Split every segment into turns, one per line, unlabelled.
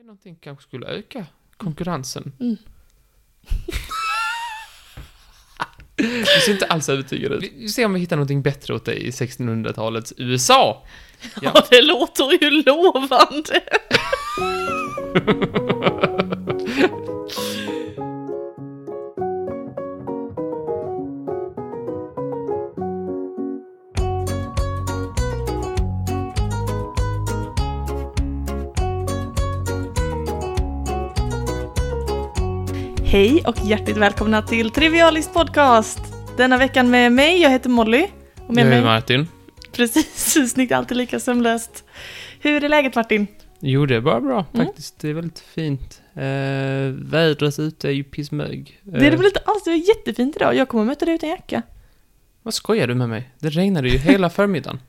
någonting kanske skulle öka konkurrensen.
Mm. Mm.
Du ser inte alls övertygad ut. Vi- Vi ser om vi hittar någonting bättre åt dig i 1600-talets USA. Ja.
Ja, det låter ju lovande. Hej och hjärtligt välkomna till Trivialist Podcast! Denna veckan med mig, jag heter Molly. Och med
Jag är
mig...
Martin.
Precis, snyggt, alltid lika sömlöst. Hur är läget Martin?
Jo, det är bara bra
Mm.
faktiskt. Det är väldigt fint. Eh, vädret ute är ju pissmög. Eh,
Det är det väl inte alls, det var jättefint idag. Jag kommer möta dig utan jacka.
Vad skojar du med mig? Det regnade ju hela förmiddagen.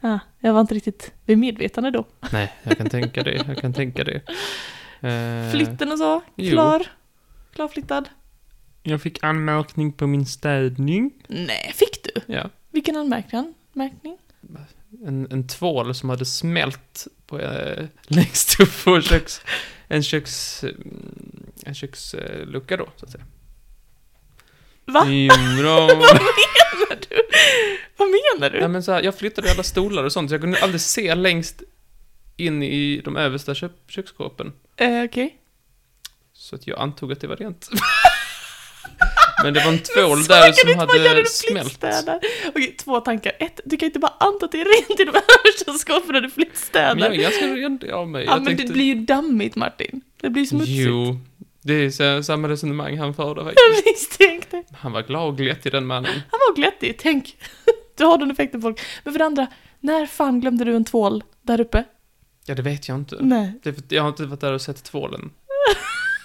Ah, jag var inte riktigt vid medvetande då.
Nej, jag kan tänka det. Jag kan tänka det. Eh,
Flytten och så,
jo.
klar. Klarflyttad.
Jag fick anmärkning på min städning.
Nej, fick du?
Ja.
Vilken anmärkning? Märkning?
en, en tvål som hade smält på, eh, längst upp på köks, en köks... mm, En kökslucka då, så att säga.
Va?
Jo, då.
Vad menar du?
Nej, men så här, jag flyttade alla stolar och sånt, så jag kunde aldrig se längst in i de översta kö köksskåpen.
Eh, Okej.
Så att jag antog att det var rent. men det var en tvål
Så kan
där
du
som
inte bara göra när
hade
du
smält.
flyttstädar. Okej, två tankar. Ett, du kan inte bara anta att det är rent i de översta skåpen när du
Men jag
flyttstädar.
är ganska ren av mig.
Ja,
jag
men det blir ju dammigt Martin. Det blir smutsigt.
Jo, det är så- samma resonemang han förde faktiskt.
Jag misstänkte.
Han var glad och glättig den mannen.
Han var glättig, tänk. Du har den effekten på folk. Men för det andra, när fan glömde du en tvål där uppe?
Ja, det vet jag inte.
Nej.
Det är för, att typ, jag har inte varit där och sett tvålen.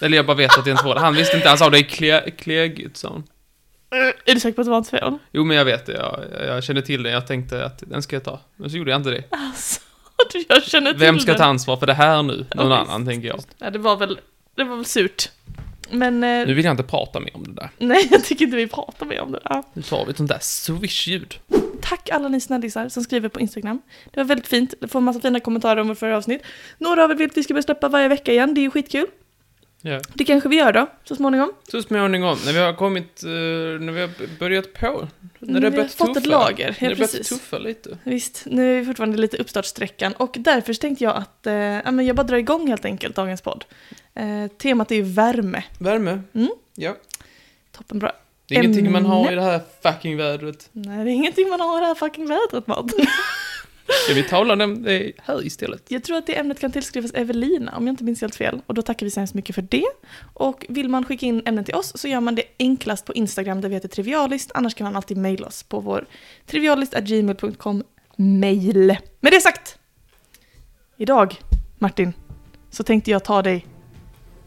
Eller jag bara vet att det är en tvål. Han visste inte, han sa det är kle- klegigt, sa han.
Är du säker på att det var en tvål?
Jo, men jag vet det. Jag, jag kände till den. Jag tänkte att den ska jag ta. Men så gjorde jag inte det.
Alltså, du, jag känner till
Vem ska
den.
ta ansvar för det här nu?
Ja,
Någon
visst.
annan, tänker jag.
Ja, det var väl, det var väl surt. Men, eh,
Nu vill jag inte prata mer om det där.
nej, jag tycker inte vi pratar mer om det där.
Nu tar vi ett sånt där swish-ljud.
Tack alla ni snällisar som skriver på Instagram. Det var väldigt fint, jag får en massa fina kommentarer om vårt förra avsnitt. Några av er vill att vi ska börja släppa varje vecka igen, det är ju skitkul.
Ja.
Det kanske vi gör då, så småningom.
Så småningom, när vi har kommit, eh, när vi har börjat på, när det har
vi
börjat
fått ett
tuffa.
lager,
när
ja
det har börjat
precis.
tuffa lite.
Visst, nu är vi fortfarande lite i uppstartsträckan och därför så tänkte jag att eh, ja, men jag bara drar igång helt enkelt dagens podd. Eh, temat är ju värme.
Värme.
Mm.
Ja.
Toppenbra.
Det är ingenting man har
Ämne.
i det här fucking vädret.
Nej, det är ingenting man har i det här fucking vädret, Martin.
Ska vi tala om det här istället?
Jag tror att det ämnet kan tillskrivas Evelina, om jag inte minns helt fel. Och då tackar vi så hemskt mycket för det. Och vill man skicka in ämnen till oss så gör man det enklast på Instagram där vi heter Trivialist. Annars kan man alltid mejla oss på vår trivialist.gmail.com mejl. Med det sagt! Idag, Martin, så tänkte jag ta dig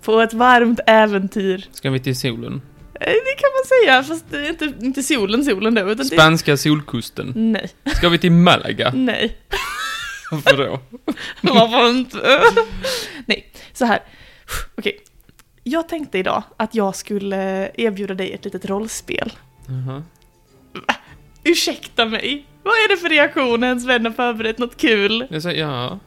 på ett varmt äventyr.
Ska vi till solen?
Eh, Det kan man säga, fast det är inte, inte solen solen då, utan det är...
Spanska solkusten.
Nej,
Ska vi till Malaga?
nej.
Varför då?
Varför inte? Nej, så här. Okej. Jag tänkte idag att jag skulle erbjuda dig ett litet rollspel.
Jaha.
Ursäkta mig! Vad är det för reaktion när ens vän har förberett något kul?
Jag säger ja.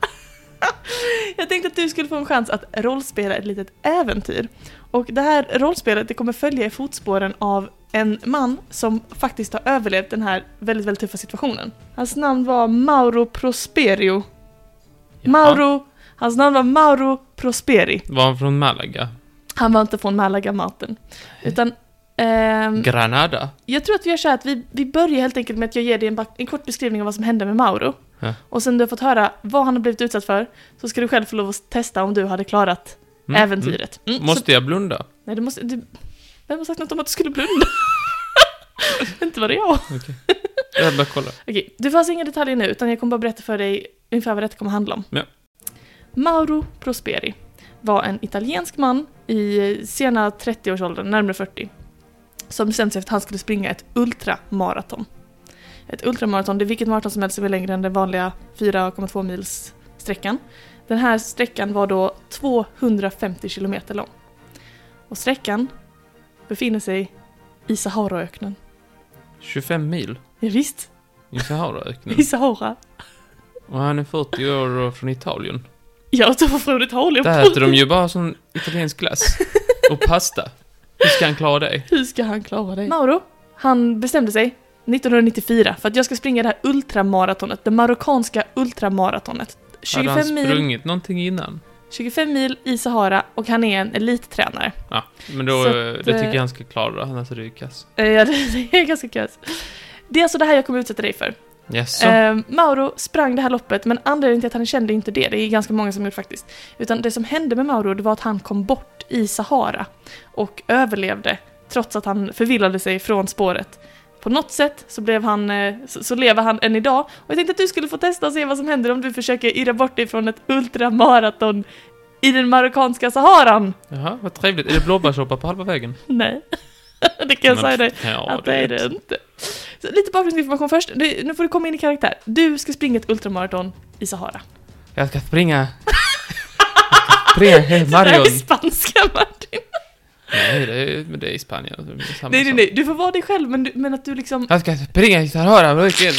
Jag tänkte att du skulle få en chans att rollspela ett litet äventyr. Och det här rollspelet det kommer följa i fotspåren av en man som faktiskt har överlevt den här väldigt, väldigt tuffa situationen. Hans namn var Mauro Prosperio.
Jaha.
Mauro, hans namn var Mauro Prosperi.
Var han från Malaga?
Han var inte från Malaga Martin. Utan ehm,
Granada?
jag tror att vi gör så här att vi, vi börjar helt enkelt med att jag ger dig en, bak- en kort beskrivning av vad som hände med Mauro.
Ja.
Och sen du har fått höra vad han har blivit utsatt för, så ska du själv få lov att testa om du hade klarat
Mm, mm.
äventyret. Mm, så,
Måste jag blunda?
nej, du måste... Du, vem har sagt något om att du skulle blunda? inte var det jag.
Jag hade bara kolla.
Okej, du får alltså inga detaljer nu, utan jag kommer bara berätta för dig ungefär vad detta kommer handla om.
Ja.
Mauro Prosperi var en italiensk man i sena 30-årsåldern, närmare 40, som bestämde sig för att han skulle springa ett ultramaraton. Ett ultramaraton, det är vilket maraton som helst som är längre än den vanliga 4,2 mils sträckan. Den här sträckan var då 250 kilometer lång. Och sträckan befinner sig i Saharaöknen.
25 mil
Ja, visst,
i Saharaöknen.
i Sahara.
Och han är 40 år och från Italien.
Ja, och då får Frodo ta olja
Där äter de ju bara sån italiensk glass. Och pasta. Hur ska han klara det?
Hur ska han klara det? Mauro, han bestämde sig 1994 för att jag ska springa det här ultramaratonet, det marockanska ultramaratonet.
Hade han
25 mil,
sprungit någonting innan?
25 mil i Sahara och han är en elittränare.
Ja, men då,
Så att,
eh, det tycker
eh,
jag han ska klara, annars är det ju kass.
Eh, Ja, det är ganska kass. Det är alltså det här jag kommer utsätta dig för.
Jaså?
Eh, Mauro sprang det här loppet, men anledningen till att han kände inte det, det är ganska många som gjort faktiskt. Utan det som hände med Mauro, det var att han kom bort i Sahara och överlevde, trots att han förvillade sig från spåret. På något sätt så, blev han, eh, så, så lever han än idag. Och jag tänkte att du skulle få testa och se vad som händer om du försöker irra bort dig från ett ultramaraton i den marockanska Saharan.
Jaha, vad trevligt. Är det blåbärssoppa på halva vägen?
Nej, det kan jag
Men-
säga dig
Ja,
att det är det inte. Så lite bakgrundsinformation först. Du, nu får du komma in i karaktär. Du ska springa ett ultramaraton i Sahara.
Jag ska springa... springa hela
Det där är
Marion.
spanska Martin.
Nej, det är, men det är i Spanien. Det är samma
Nej, nej,
sak.
nej. Du får vara dig själv, men, du, men att du liksom...
Jag ska springa i Sahara, verkligen.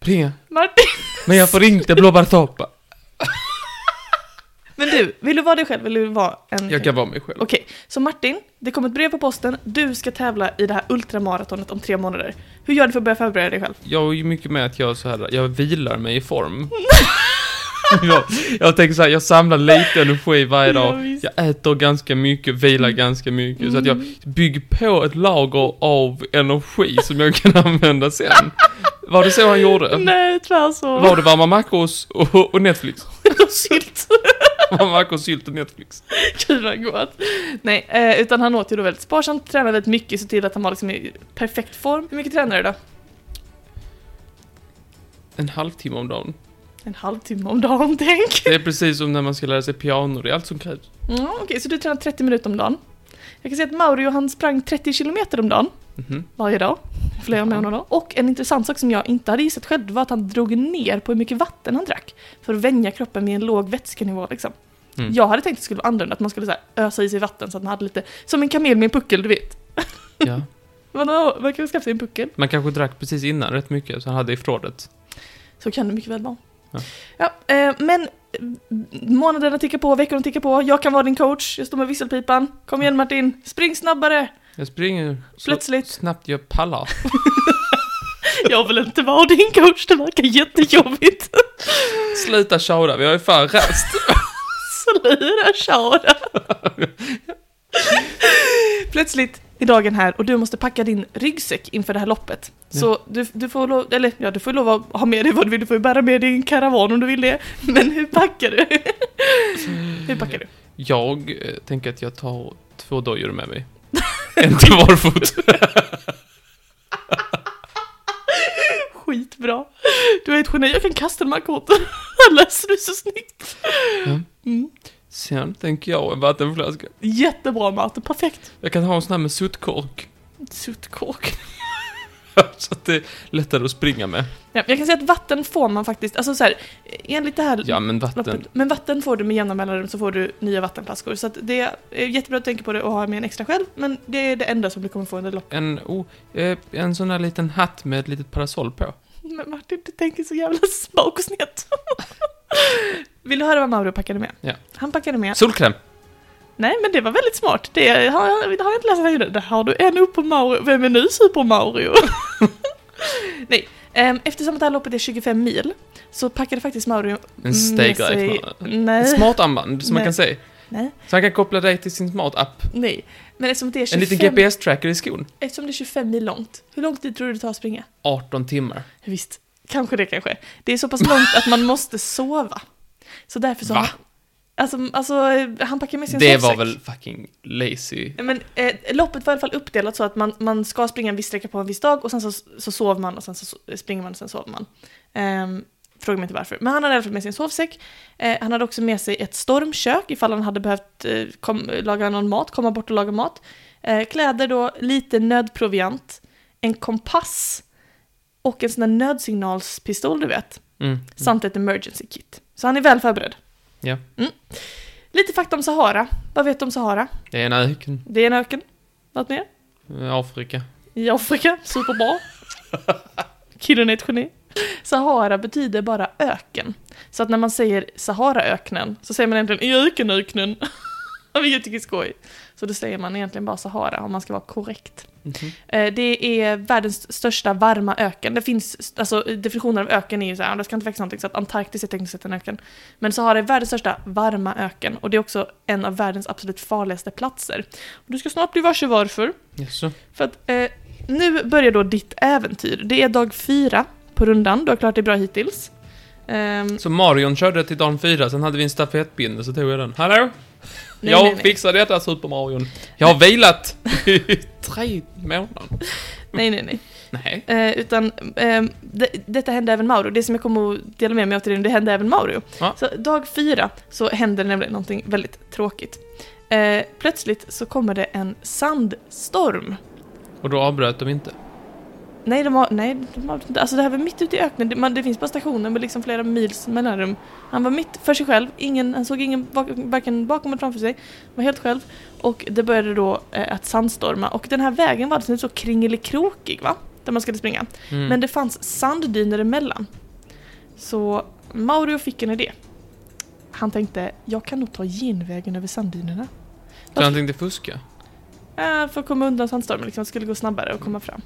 Springa.
Martin!
Men jag får inte blåbärssoppa.
Men du, vill du vara dig själv eller vill du vara en...
Jag kan vara mig själv.
Okej, så Martin, det kom ett brev på posten. Du ska tävla i det här ultramaratonet om tre månader. Hur gör du för att börja förbereda dig själv?
Jag är ju mycket med att jag så här, jag vilar mig i form. jag, jag tänker så här, jag samlar lite energi varje
Ja,
dag.
visst.
Jag äter ganska mycket, vilar ganska mycket. Så att jag bygger på ett lager av energi som jag kan använda sen. Var det så han gjorde?
Nej, tyvärr så.
Var det varma mackros och, och Netflix?
Sylt.
Varma mackros, sylt och Netflix.
Gud vad gott. Nej, eh, utan han åt ju då väldigt sparsamt, tränade väldigt mycket, så till att han var liksom i perfekt form. Hur mycket tränade du då?
En halvtimme om dagen.
En halvtimme om dagen, tänk.
Det är precis som när man ska lära sig piano, det är allt som krävs.
Mm, Okej, så du tränade 30 minuter om dagen. Jag kan säga att Mauro, han sprang 30 kilometer om dagen,
Mhm.
varje dag, flera
Ja.
månader. Och en intressant sak som jag inte hade gissat själv var att han drog ner på hur mycket vatten han drack. För att vänja kroppen vid en låg vätskenivå liksom.
Mm.
Jag hade tänkt att det skulle vara annorlunda, att man skulle så här, ösa i sig vatten så att man hade lite, som en kamel med en puckel, du vet.
Ja.
Man, har- man kan väl skaffa sig en puckel.
Man kanske drack precis innan rätt mycket, så han hade i förrådet.
Så kan det mycket väl vara.
Ja.
Ja, eh, men eh, månaderna tickar på, veckorna tickar på. Jag kan vara din coach, jag står med visselpipan. Kom igen Martin, spring snabbare!
Jag springer så
Plötsligt.
snabbt jag pallar.
Jag vill inte vara din coach, det verkar jättejobbigt.
Sluta tjata, vi har ju fan rast.
Sluta köra! Plötsligt är dagen här och du måste packa din ryggsäck inför det här loppet. Så du, du får lov, eller ja, du får lov att ha med dig vad du vill, du får ju bära med dig en karavan om du vill det. Men hur packar du? hur packar du?
Jag eh, tänker att jag tar två dojor med mig. en till var fot.
Skitbra. Du är ett geni, jag kan kasta de här korten. Han läser du så snyggt.
Ja.
Mm.
Sen tänker jag en vattenflaska.
Jättebra Martin, perfekt.
Jag kan ha en sån här med suttkork.
Suttkork.
så att det är lättare att springa med.
Ja, jag kan säga att vatten får man faktiskt, alltså så här, enligt det här
Ja, men vatten.
loppet, men vatten får du med jämna mellanrum så får du nya vattenflaskor. Så att det är jättebra att tänka på det och ha med en extra själv, men det är det enda som du kommer få under loppet.
En, oh, eh, en sån här liten hatt med ett litet parasoll på.
Men Martin, du tänker så jävla smak och snett. Vill du höra vad Mauro packade med?
Ja.
Han packade med
Solkräm!
Nej, men det var väldigt smart. Det har jag, det har jag inte läst här innan. Det har du en upp på Mario. Vem är nu Super Mario? Nej, ehm, eftersom att det här loppet är 25 mil så packade faktiskt Mario
En stegräknare. Ett
Mm, Nej,
smartarmband som man
Nej.
kan se.
nej,
Så han kan koppla dig till sin smartapp.
nej. Men eftersom det, är
En
25,
liten GPS-tracker i skon.
eftersom det är 25 mil långt, hur lång tid tror du det tar att springa?
18 timmar.
Visst, kanske det kanske. Det är så pass långt att man måste sova. Så därför så...
Va?
Alltså, alltså, han packar med sin
Det var
sovsäck.
väl fucking lazy.
Men eh, loppet var i alla fall uppdelat så att man, man ska springa en viss sträcka på en viss dag och sen så, så sover man och sen så so- springer man och sen sover man. Ehm, fråga mig inte varför. Men han hade i alla fall med sig en sovsäck. Eh, han hade också med sig ett stormkök ifall han hade behövt eh, kom, laga någon mat, komma bort och laga mat. Eh, kläder då, lite nödproviant, en kompass och en sån där nödsignalspistol du vet.
Mm.
Samt ett emergency kit. Så han är väl förberedd.
Ja.
Mm. Lite fakta om Sahara. Vad vet du om Sahara?
Det är en öken.
Det är en öken. Något mer?
Eh, Afrika.
I Afrika, superbra. Killen är ett geni. Sahara betyder bara öken. Så att när man säger Saharaöknen så säger man egentligen i ökenöknen. Vilket jag tycker är skoj. Så då säger man egentligen bara Sahara om man ska vara korrekt.
Mhm.
Eh, Det är världens största varma öken. Det finns, alltså definitionen av öken är ju så här, det ska inte växa någonting, så att Antarktis är tekniskt sett en öken. Men Sahara är världens största varma öken och det är också en av världens absolut farligaste platser. Du ska snart bli varse varför.
Jaså?
För att eh, nu börjar då ditt äventyr. Det är dag fyra på rundan, du har klarat dig bra hittills. Ehm,
Så Marion körde till dagen fyra, sen hade vi en stafettbinda, så tog jag den. Hallå?
Nej,
jag
nej, nej.
fixar detta Super Marion. Jag har vilat i tre månader.
nej, nej, nej.
Nej.
Eh, utan ehm, det, detta hände även Mauro. Det som jag kommer att dela med mig av till dig, det hände även Mauro.
Ja.
Så dag fyra så händer det nämligen någonting väldigt tråkigt. Eh, plötsligt så kommer det en sandstorm.
Och då avbröt de inte.
Nej, de har, nej, de har, alltså det här var mitt ute i öknen. Det, man, det finns bara stationer med liksom flera mils mellanrum. Han var mitt för sig själv. Ingen, han såg ingen bak, varken bakom eller framför sig. Han var helt själv. Och det började då eh, att sandstorma. Och den här vägen var alltså så kringelikrokig, va? Där man skulle springa.
Mm.
Men det fanns sanddyner emellan. Så Mauro fick en idé. Han tänkte, jag kan nog ta genvägen över sanddynerna.
Så han tänkte fuska.
Äh, för att komma undan sandstormen, liksom. Det skulle gå snabbare och komma fram.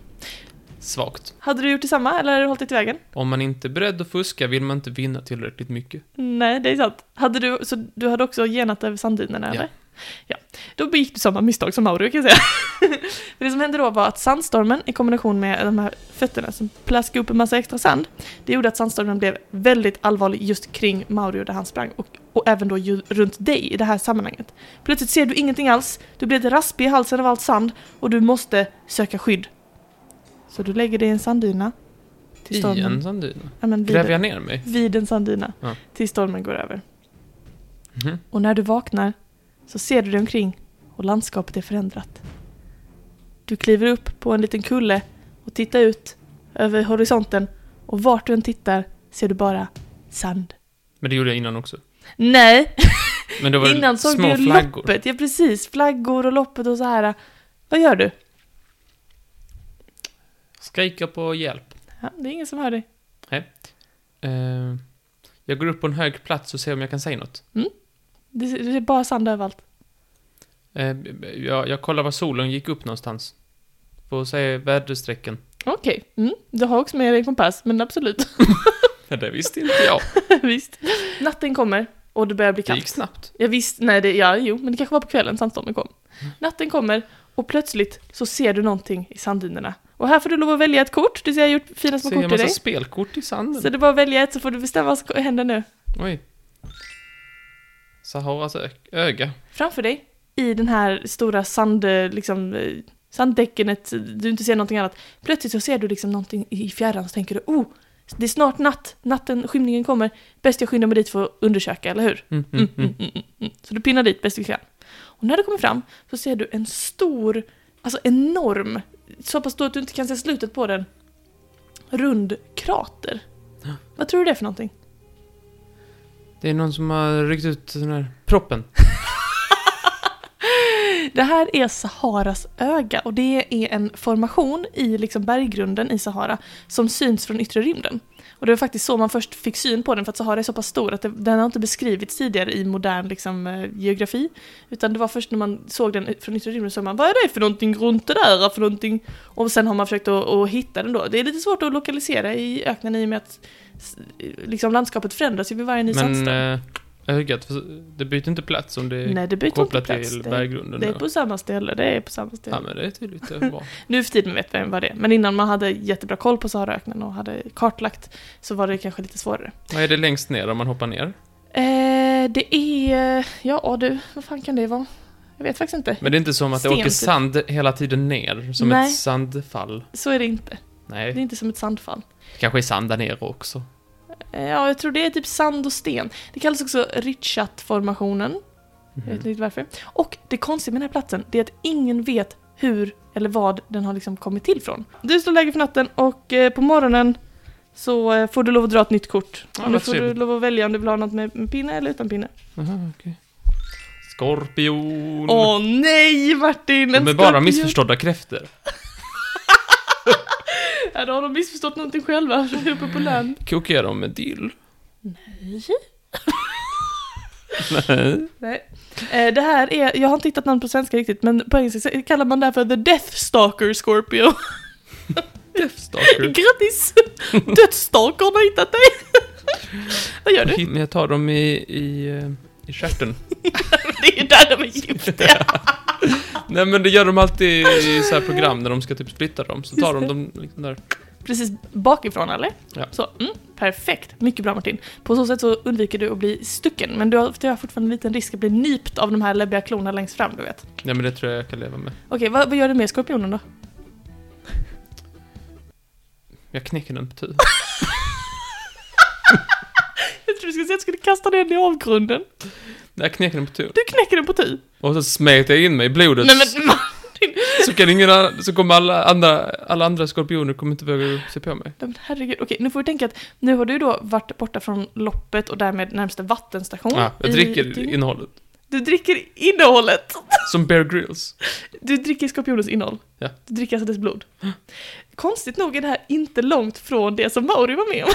Svagt.
Hade du gjort detsamma eller hade du hållit dig till vägen?
Om man inte är beredd att fuska vill man inte vinna tillräckligt mycket.
Nej, det är sant. Hade du, så du hade också genat över sanddynerna,
Ja.
eller? Ja. Då begick du samma misstag som Mauro, kan jag säga. För det som hände då var att sandstormen i kombination med de här fötterna som plaskade upp en massa extra sand, det gjorde att sandstormen blev väldigt allvarlig just kring Mauro där han sprang och, och även då ju, runt dig i det här sammanhanget. Plötsligt ser du ingenting alls, du blir lite raspig i halsen av allt sand och du måste söka skydd. Så du lägger dig i en sanddyna.
I en sanddyna.
Ja, men vid,
Gräver jag ner mig?
vid en sanddyna.
Ja.
Tills stormen går över.
Mhm.
Och när du vaknar så ser du dig omkring och landskapet är förändrat. Du kliver upp på en liten kulle och tittar ut över horisonten och vart du än tittar ser du bara sand.
Men det gjorde jag innan också.
Nej,
Men då var det
innan såg
små
du
flaggor.
loppet. Ja, precis. Flaggor och loppet och så här. Vad gör du?
Skriker på hjälp.
Ja, det är ingen som hör dig.
Eh, jag går upp på en hög plats och ser om jag kan säga något.
Det är det är bara sand överallt.
Eh, jag, jag kollar var solen gick upp någonstans. För att se väderstrecken.
Okej, mm. du har också med dig en kompass, men absolut.
Ja, det visste inte jag.
Visst. Natten kommer och det börjar bli
Det
kallt.
gick snabbt.
Jag visst, nej det, ja jo, men det kanske var på kvällen sandstormen kom. Natten kommer och plötsligt så ser du någonting i sanddynerna. Och här får du lov att välja ett kort, du ser jag har gjort fina små
Ser jag
kort till
massa
dig.
spelkort i sanden?
Så det är bara att välja ett så får du bestämma vad som händer nu.
Oj. Saharas ö- öga.
Framför dig, i den här stora sand, eh, liksom, eh, sanddäckenet, du inte ser någonting annat. Plötsligt så ser du liksom någonting i fjärran så tänker du oh, det är snart natt, natten, skymningen kommer, bäst jag skyndar mig dit för att undersöka, eller hur?
Mm, mm,
Mm,
mm.
mm, mm, mm. Så du pinnar dit bäst du kan. Och när du kommer fram så ser du en stor, alltså enorm, så pass stor att du inte kan se slutet på den, rund krater. Vad tror du det är för någonting?
Det är någon som har ryckt ut den här proppen.
Det här är Saharas öga och det är en formation i liksom berggrunden i Sahara som syns från yttre rymden. Och det var faktiskt så man först fick syn på den för att Sahara är så pass stor att det, den har inte beskrivits tidigare i modern liksom, eh, geografi. Utan det var först när man såg den från yttre rymden så man vad är det för någonting runt det där för någonting? Och sen har man försökt att, att hitta den då. Det är lite svårt att lokalisera i öknen i och med att s- liksom, landskapet förändras ju vid varje ny
Men
sandstorm.
eh, ögat, för- det byter inte plats om det är
Nej, det byter inte
kopplat
plats.
till
Det,
berggrunden.
det är
då.
på samma ställe, det är på samma ställe.
Ja, men det är tydligt. Det är bra.
Nu för tiden vet vem vad det är, men innan man hade jättebra koll på Saharaöknen och hade kartlagt så var det kanske lite svårare.
Vad är det längst ner om man hoppar ner?
Eh, det är... Ja du, vad fan kan det vara? Jag vet faktiskt inte.
Men det är inte som att det
Sten,
åker
typ.
sand hela tiden ner, som
Nej.
ett sandfall.
Så är det inte. Det är
Nej,
inte som ett sandfall.
kanske är sand där nere också.
Eh, ja, jag tror det är typ sand och sten. Det kallas också Richat-formationen. Jag
Mhm.
vet inte varför. Och det konstiga med den här platsen, det är att ingen vet hur eller vad den har liksom kommit till från. Du slår läge för natten och eh, på morgonen så eh, får du lov att dra ett nytt kort.
Ja,
och nu
vad
får du
trevligt.
lov att välja om du vill ha något med, med pinne eller utan pinne.
Mhm. Aha, okej. Skorpion!
Åh nej Martin! en
De är bara
skorpion.
missförstådda kräftor.
Ja, då har de missförstått någonting själva som är uppe på land.
Kokar jag dem med dill?
Nej.
Nej.
Nej. Eh, det här är, jag har inte hittat namn på svenska riktigt, men på engelska så kallar man det här för The Death Stalker Scorpio.
Deathstalker.
Grattis! Dödsstalkern har hittat dig! Vad gör du?
Men jag tar dem i, i, eh, i stjärten.
Det är där de är giftiga! Ah.
Nej men det gör de alltid i så här program när de ska typ splitta dem. Så tar de
Just
dem liksom där.
Precis bakifrån eller?
Ja.
Så, mm, perfekt, mycket bra Martin. På så sätt så undviker du att bli stucken, men du har, du har fortfarande en liten risk att bli nypt av de här läbbiga klorna längst fram, du vet.
Nej men det tror jag jag kan leva med.
Okej, vad, vad gör du med skorpionen då?
Jag knäcker den på tur.
Jag trodde du skulle säga att du skulle kasta ner den i avgrunden.
Jag knäcker den på tur.
Du knäcker den på typ. tu.
Och så smet jag in mig i blodet.
Nej men Martin!
Så kan ingen annan, så kommer alla andra, alla andra skorpioner kommer inte våga se på mig.
Nej, men herregud, okej nu får du tänka att nu har du då varit borta från loppet och därmed närmsta vattenstation.
Ja, Ah, jag
i
dricker
dygn.
innehållet.
Du dricker innehållet!
Som Bear Grylls.
Du dricker skorpionens innehåll.
Ja.
Du dricker alltså dess blod. Konstigt nog är det här inte långt från det som Mauri var med om.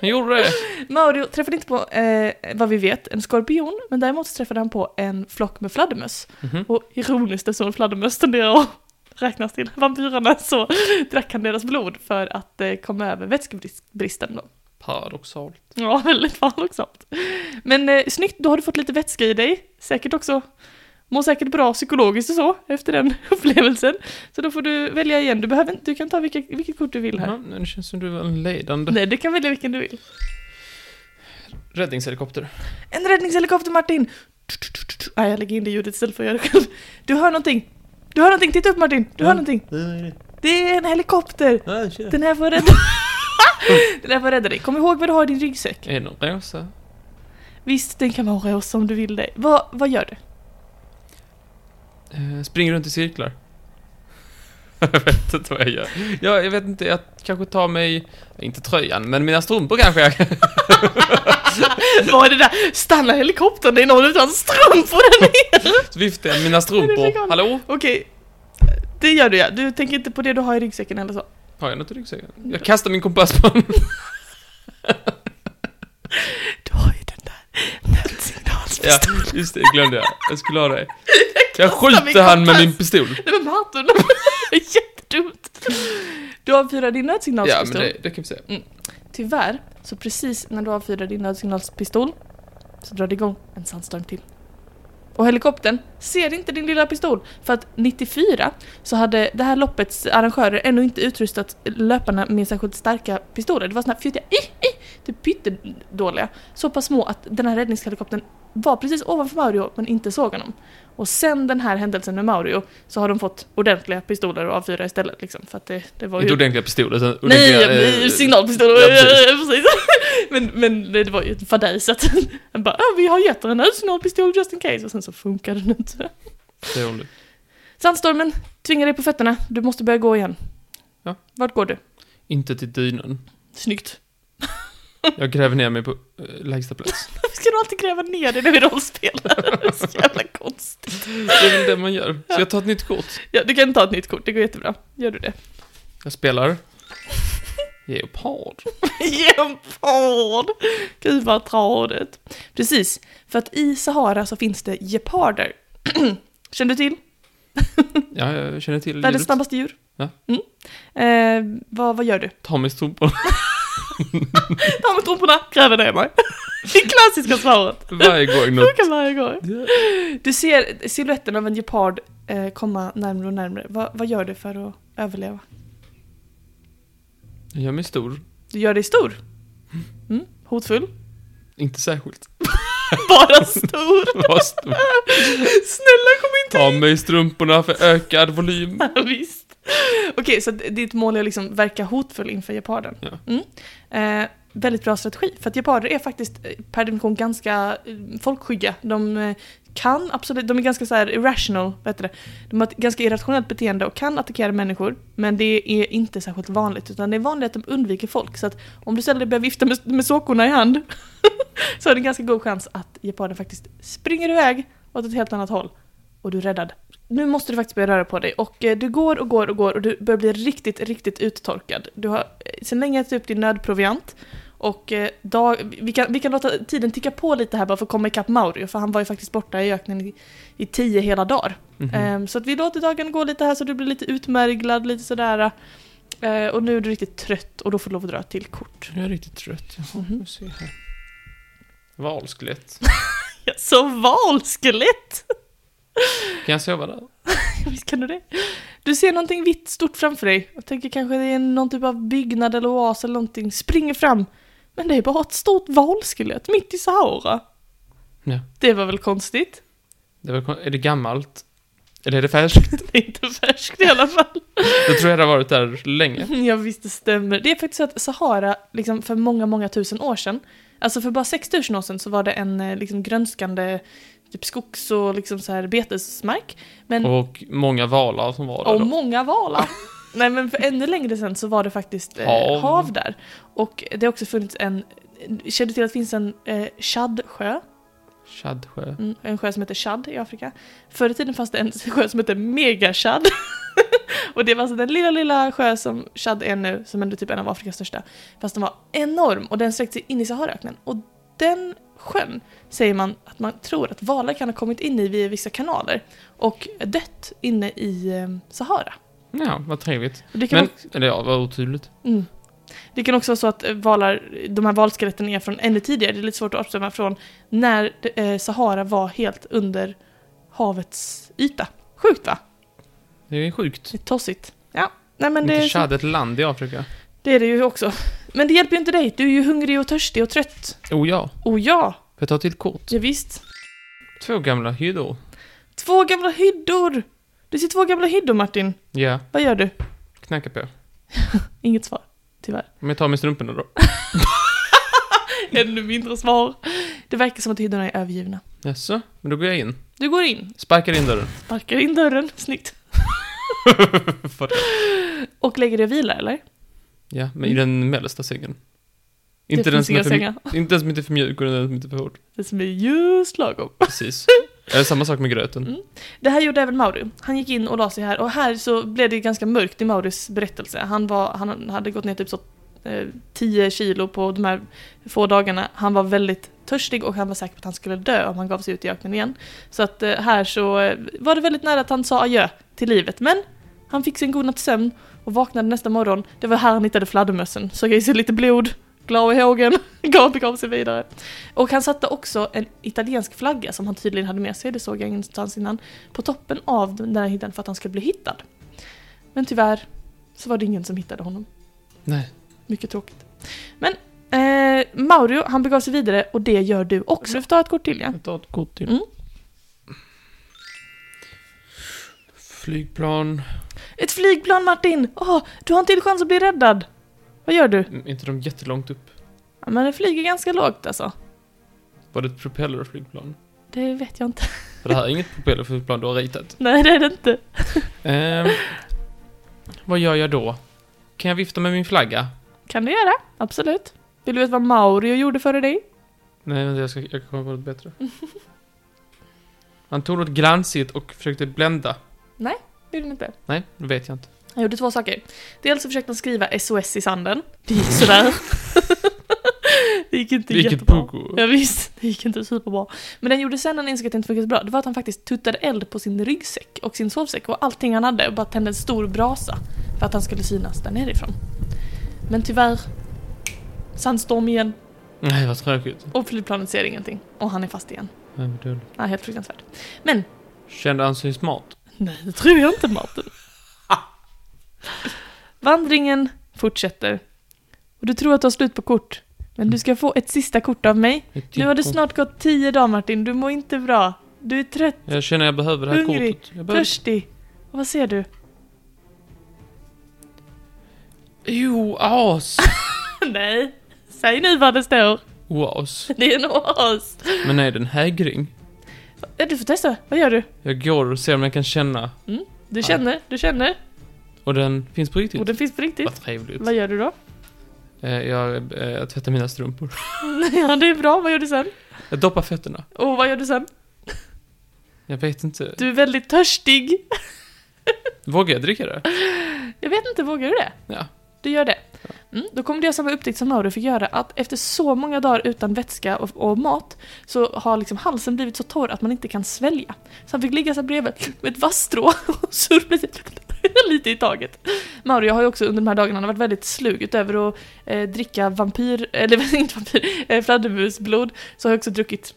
Han gjorde det.
Mauri träffade inte på, eh, vad vi vet, en skorpion, men däremot så träffade han på en flock med fladdermöss.
Mhm.
Och ironiskt eftersom fladdermöss tenderar att räknas till vampyrerna så drack han deras blod för att eh, komma över vätskebristen då.
Paradoxalt.
Ja, väldigt paradoxalt. Men eh, snyggt, då har du fått lite vätska i dig. Säkert också. Mår säkert bra psykologiskt och så, efter den upplevelsen. Så då får du välja igen. Du, behöver, inte- du kan ta vilka, vilket kort du vill här.
Ja, Mm, men det känns som du var en ledande
Nej, du kan välja vilken du vill.
räddningshelikopter.
En räddningshelikopter, Martin! Nej, jag lägger in det ljudet istället för att göra det själv. Du hör någonting! Du hör någonting! Titta upp Martin! Du hör
Mm.
någonting!
Nej,
Det är en helikopter!
nej, tjena.
Den här får rädda... den här får rädda dig. Kom ihåg vad du har i din ryggsäck.
Är den rosa?
Visst, den kan vara rosa om du vill det. Vad, vad gör du?
Eh, springer runt i cirklar. jag vet inte vad jag gör. Jag, jag vet inte, jag kanske tar mig, inte tröjan, men mina strumpor kanske jag
Vad är det där? Stanna helikoptern, det är någon utan strumpor där nere!
Så viftar jag med mina
Men det fick hon.
strumpor. Hallå?
Okej, det gör du ja. Du tänker inte på det du har i ryggsäcken eller så?
Har jag något i ryggsäcken? Jag kastar min kompass på honom.
Du har ju den där
Ja,
nödsignalspistolen.
just det, glömde jag. Jag skulle ha det. Jag skjuter han med min pistol.
Nej men Martin, det är jättedumt! Du avfyrar din
Ja,
nödsignalspistol.
men det, det kan vi se.
Tyvärr, så precis när du avfyrar din nödsignalspistol så drar det igång en sandstorm till. Och helikoptern ser inte din lilla pistol för att 94 så hade det här loppets arrangörer ännu inte utrustat löparna med särskilt starka pistoler. Det var såna här fjuttiga, i, i, typ pyttedåliga. Så pass små att den här räddningshelikoptern var precis ovanför Mario men inte såg honom. Och sen den här händelsen med Mario så har de fått ordentliga pistoler att avfyra istället liksom. För att det, det var ju...
Inte ordentliga pistoler, utan
Nej,
ordentliga,
jag-
eh,
signalpistol.
ja, precis.
precis. men, men det var ju en fadäs att han bara, "Ah, vi har gett er en signalpistol just in case. Och sen så funkar den inte.
Det är hon.
Sandstormen tvingar dig på fötterna. Du måste börja gå igen.
Ja.
Vart går du?
Inte till dynan.
Snyggt.
Jag gräver ner mig på eh, lägsta plats.
Varför ska du alltid gräva ner dig när vi rollspelar? Det är så jävla konstigt.
Det är väl det man gör. Så jag tar ett nytt kort.
Ja, du kan ta ett nytt kort, det går jättebra. Gör du det?
Jag spelar... Leopard.
Gepard! Gud vad tradigt. Precis, för att i Sahara så finns det geparder. Känner du till?
Ja, jag känner till
Världens
ljudet.
snabbaste djur.
Ja.
Mm. Eh, vad, vad gör du?
Ta mig strumporna.
Ta med strumporna, gräver ner mig. Det klassiska svaret.
Varje gång något...
Funkar varje gång.
Ja.
Du ser siluetten av en gepard eh, komma närmare och närmare. Vad- vad gör du för att överleva?
Jag gör mig stor.
Du gör dig stor. Mm. Hotfull.
Inte särskilt.
Bara stor.
Var stor.
Snälla kom inte
Ta mig strumporna för ökad volym.
Ja, Visst. Okej, så att ditt mål är att liksom verka hotfull inför geparden.
Ja.
Mm. Eh, väldigt bra strategi, för att geparder är faktiskt eh, per definition ganska eh, folkskygga. De eh, kan absolut, de är ganska så här irrational, vad heter det? De har ett ganska irrationellt beteende och kan attackera människor, men det är inte särskilt vanligt, utan det är vanligt att de undviker folk. Så att om du ställer dig börjar vifta med, med såkorna i hand, så är det en ganska god chans att geparden faktiskt springer iväg åt ett helt annat håll, och du är räddad. nu måste du faktiskt börja röra på dig och eh, du går och går och går och du börjar bli riktigt, riktigt uttorkad. Du har eh, sedan länge ätit upp din nödproviant och eh, dag, vi, kan, vi kan låta tiden ticka på lite här bara för att komma ikapp Mauri för han var ju faktiskt borta i öknen i, i tio hela dagar.
Mhm.
Ehm, Så att vi låter dagen gå lite här så du blir lite utmärglad, lite sådär. eh, Och nu är du riktigt trött och då får du lov att dra ett till kort.
Jag är riktigt trött. Jaha,
Mhm.
vi ser här. Valskelett.
Ja, Så valskelett!
Kan jag sova där?
Visst kan du det? Du ser någonting vitt stort framför dig. Jag tänker kanske det är någon typ av byggnad eller oas eller någonting. Springer fram. Men det är bara ett stort valskelett mitt i Sahara.
Ja.
Det var väl konstigt?
Det var, kon- är det gammalt? Eller är det färskt?
Det är inte färskt i alla fall.
Då tror jag det har varit där länge.
Ja visst, det stämmer. Det är faktiskt så att Sahara, liksom för många, många tusen år sedan, alltså för bara 6000 år sedan så var det en eh, liksom grönskande typ skogs och liksom så här betesmark. Men,
Och många valar som var där
och
då.
många valar. Nej men för ännu längre sedan så var det faktiskt eh,
Hav.
hav där. Och det har också funnits en, känner du till att det finns en eh, Chadsjö?
Tjadsjö.
Mm, en sjö som heter Chad i Afrika. Förr i tiden fanns det en sjö som hette Megachad. och det var alltså den lilla, lilla sjö som Chad är nu, som ändå typ är en av Afrikas största. Fast den var enorm och den sträckte sig in i Saharaöknen. Och den sjön säger man att man tror att valar kan ha kommit in i via vissa kanaler och dött inne i eh, Sahara.
Ja, vad trevligt.
Och det, kan
Men,
också,
eller ja, vad otydligt.
mm. det kan också vara så att eh, valar, de här valskeletten är från ännu tidigare, det är lite svårt att avstämma från när eh, Sahara var helt under havets yta. Sjukt va?
Det är ju sjukt.
Det är tossigt. Ja, nej men
Men
det
inte
är, så,
Tjad ett land i Afrika.
det är det ju också. Men det hjälper ju inte dig, du är ju hungrig och törstig och trött.
Oh ja.
Och ja,
Får jag ta till kort?
ja visst.
Två gamla hyddor.
Två gamla hyddor! Du ser två gamla hyddor Martin.
Ja,
Vad gör du?
knacka på.
Inget svar, tyvärr.
Om jag tar med strumporna då.
Ännu mindre svar. Det verkar som att hyddorna är övergivna.
Jaså? Men då går jag in.
Du går in,
Sparkar in dörren.
sparkar in dörren, snyggt.
För-
Och lägger dig och vilar eller?
ja, men i den mellersta sängen. Inte
Det
den,
finns
som är
inga
för, mj-
sängar.
inte den som inte är för mjuk och den som inte är för hård.
Det som är just lagom.
Precis. Eller samma sak med gröten.
Mm. Det här gjorde även Mauri. Han gick in och la sig här och här så blev det ganska mörkt i Mauris berättelse. Han, var, han hade gått ner typ så eh, 10 kilo på de här få dagarna. Han var väldigt törstig och han var säker på att han skulle dö om han gav sig ut i öknen igen. Så att eh, här så eh, var det väldigt nära att han sa adjö till livet. Men han fick sin godnattssömn och vaknade nästa morgon. Det var här han hittade fladdermössen. Såg i sig lite blod, glad i hågen, gav begav sig vidare. Och han satte också en italiensk flagga som han tydligen hade med sig, det såg jag ingenstans innan på toppen av den där hyddan för att han skulle bli hittad. Men tyvärr så var det ingen som hittade honom.
Nej.
Mycket tråkigt. Men eh, Mauro, han begav sig vidare och det gör du också. Du får ta ett kort till ja.
Jag tar ett kort till.
Mm.
Flygplan.
Ett flygplan Martin! Åh, du har en till chans att bli räddad! Vad gör du?
Mm, Inte de jättelångt upp.
Ja, men det flyger ganska lågt alltså.
Var det ett propellerflygplan?
Det vet jag inte.
För det här är inget propellerflygplan du har ritat.
Nej, det är det inte.
Ehm, vad gör jag då? Kan jag vifta med min flagga?
Kan du göra, absolut. Vill du veta vad Mauro gjorde före dig?
Nej, vänta, jag ska jag kan komma på något bättre. Han tog något glansigt och försökte blända.
Vill du inte?
Nej, det vet jag inte.
Han gjorde två saker. Dels så försökte han skriva SOS i sanden. Det gick sådär. det gick inte
Vilket
jättebra.
pogo.
Ja, visst, det gick inte superbra. Men den gjorde sen när han insåg att det inte funkade så bra, det var att han faktiskt tuttade eld på sin ryggsäck och sin sovsäck och allting han hade och bara tände en stor brasa för att han skulle synas där nerifrån. Men tyvärr, sandstorm igen
Nej, vad tråkigt.
och flygplanet ser ingenting och han är fast igen.
Nej, vad dåligt.
Ja, helt fruktansvärt. Men,
Kände han sig smart?
nej det tror jag inte Martin. Vandringen fortsätter. Och du tror att du har slut på kort, men du ska få ett sista kort av mig.
Ett
Nu har det
till kort.
snart gått tio dagar Martin, du mår inte bra. Du är trött.
Jag känner jag behöver det här
Hungrig.
kortet. Jag behöver...
Törstig. Och vad ser du?
Jo, as!
Nej, säg nu vad det står.
Oas.
Det är en oas.
Men nej, det är en hägring.
Ja, Du får testa, vad gör du?
Jag går och ser om jag kan känna.
Du
Ja.
känner, du känner.
Och den finns på riktigt.
Och den finns på riktigt.
Vad trevligt.
Vad gör du då?
Eh, Jag, eh, jag tvättar mina strumpor.
Ja, det är bra. Vad gör du sen?
Jag doppar fötterna.
Och vad gör du sen?
Jag vet inte.
Du är väldigt törstig.
Vågar jag dricka det?
Jag vet inte, vågar du det?
Ja.
Du gör det? Mm, då kommer du göra samma upptäckt som Mauro fick göra, att efter så många dagar utan vätska och, och mat så har liksom halsen blivit så torr att man inte kan svälja. Så han fick ligga sig bredvid med ett vasstrå och survla sig lite i taget. Mauro, jag har ju också under de här dagarna varit väldigt slug, utöver att eh, dricka vampyr, eller inte vampyr, eh, fladdermusblod, så har jag också druckit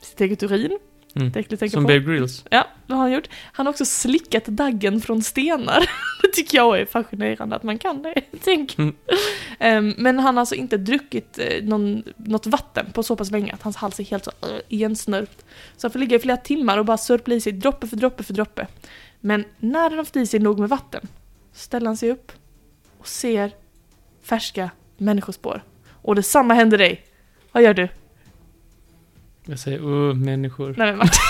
sitt eget urin.
Mm.
Det är äckligt att tänka
Som
på.
Bear Grylls.
Ja, vad har han gjort? Han har också slickat daggen från stenar. Det tycker jag är fascinerande att man kan det. Tänk.
Mm.
Ehm, men han har alltså inte druckit eh, någon, något vatten på så pass länge att hans hals är helt så uh, igensnörpt. Så han får ligga i flera timmar och bara sörpla i sig droppe för droppe för droppe. Men när han har fått i sig nog med vatten ställer han sig upp och ser färska människospår. Och detsamma händer dig. Vad gör du?
Jag säger uh, människor.
Nej men Martin.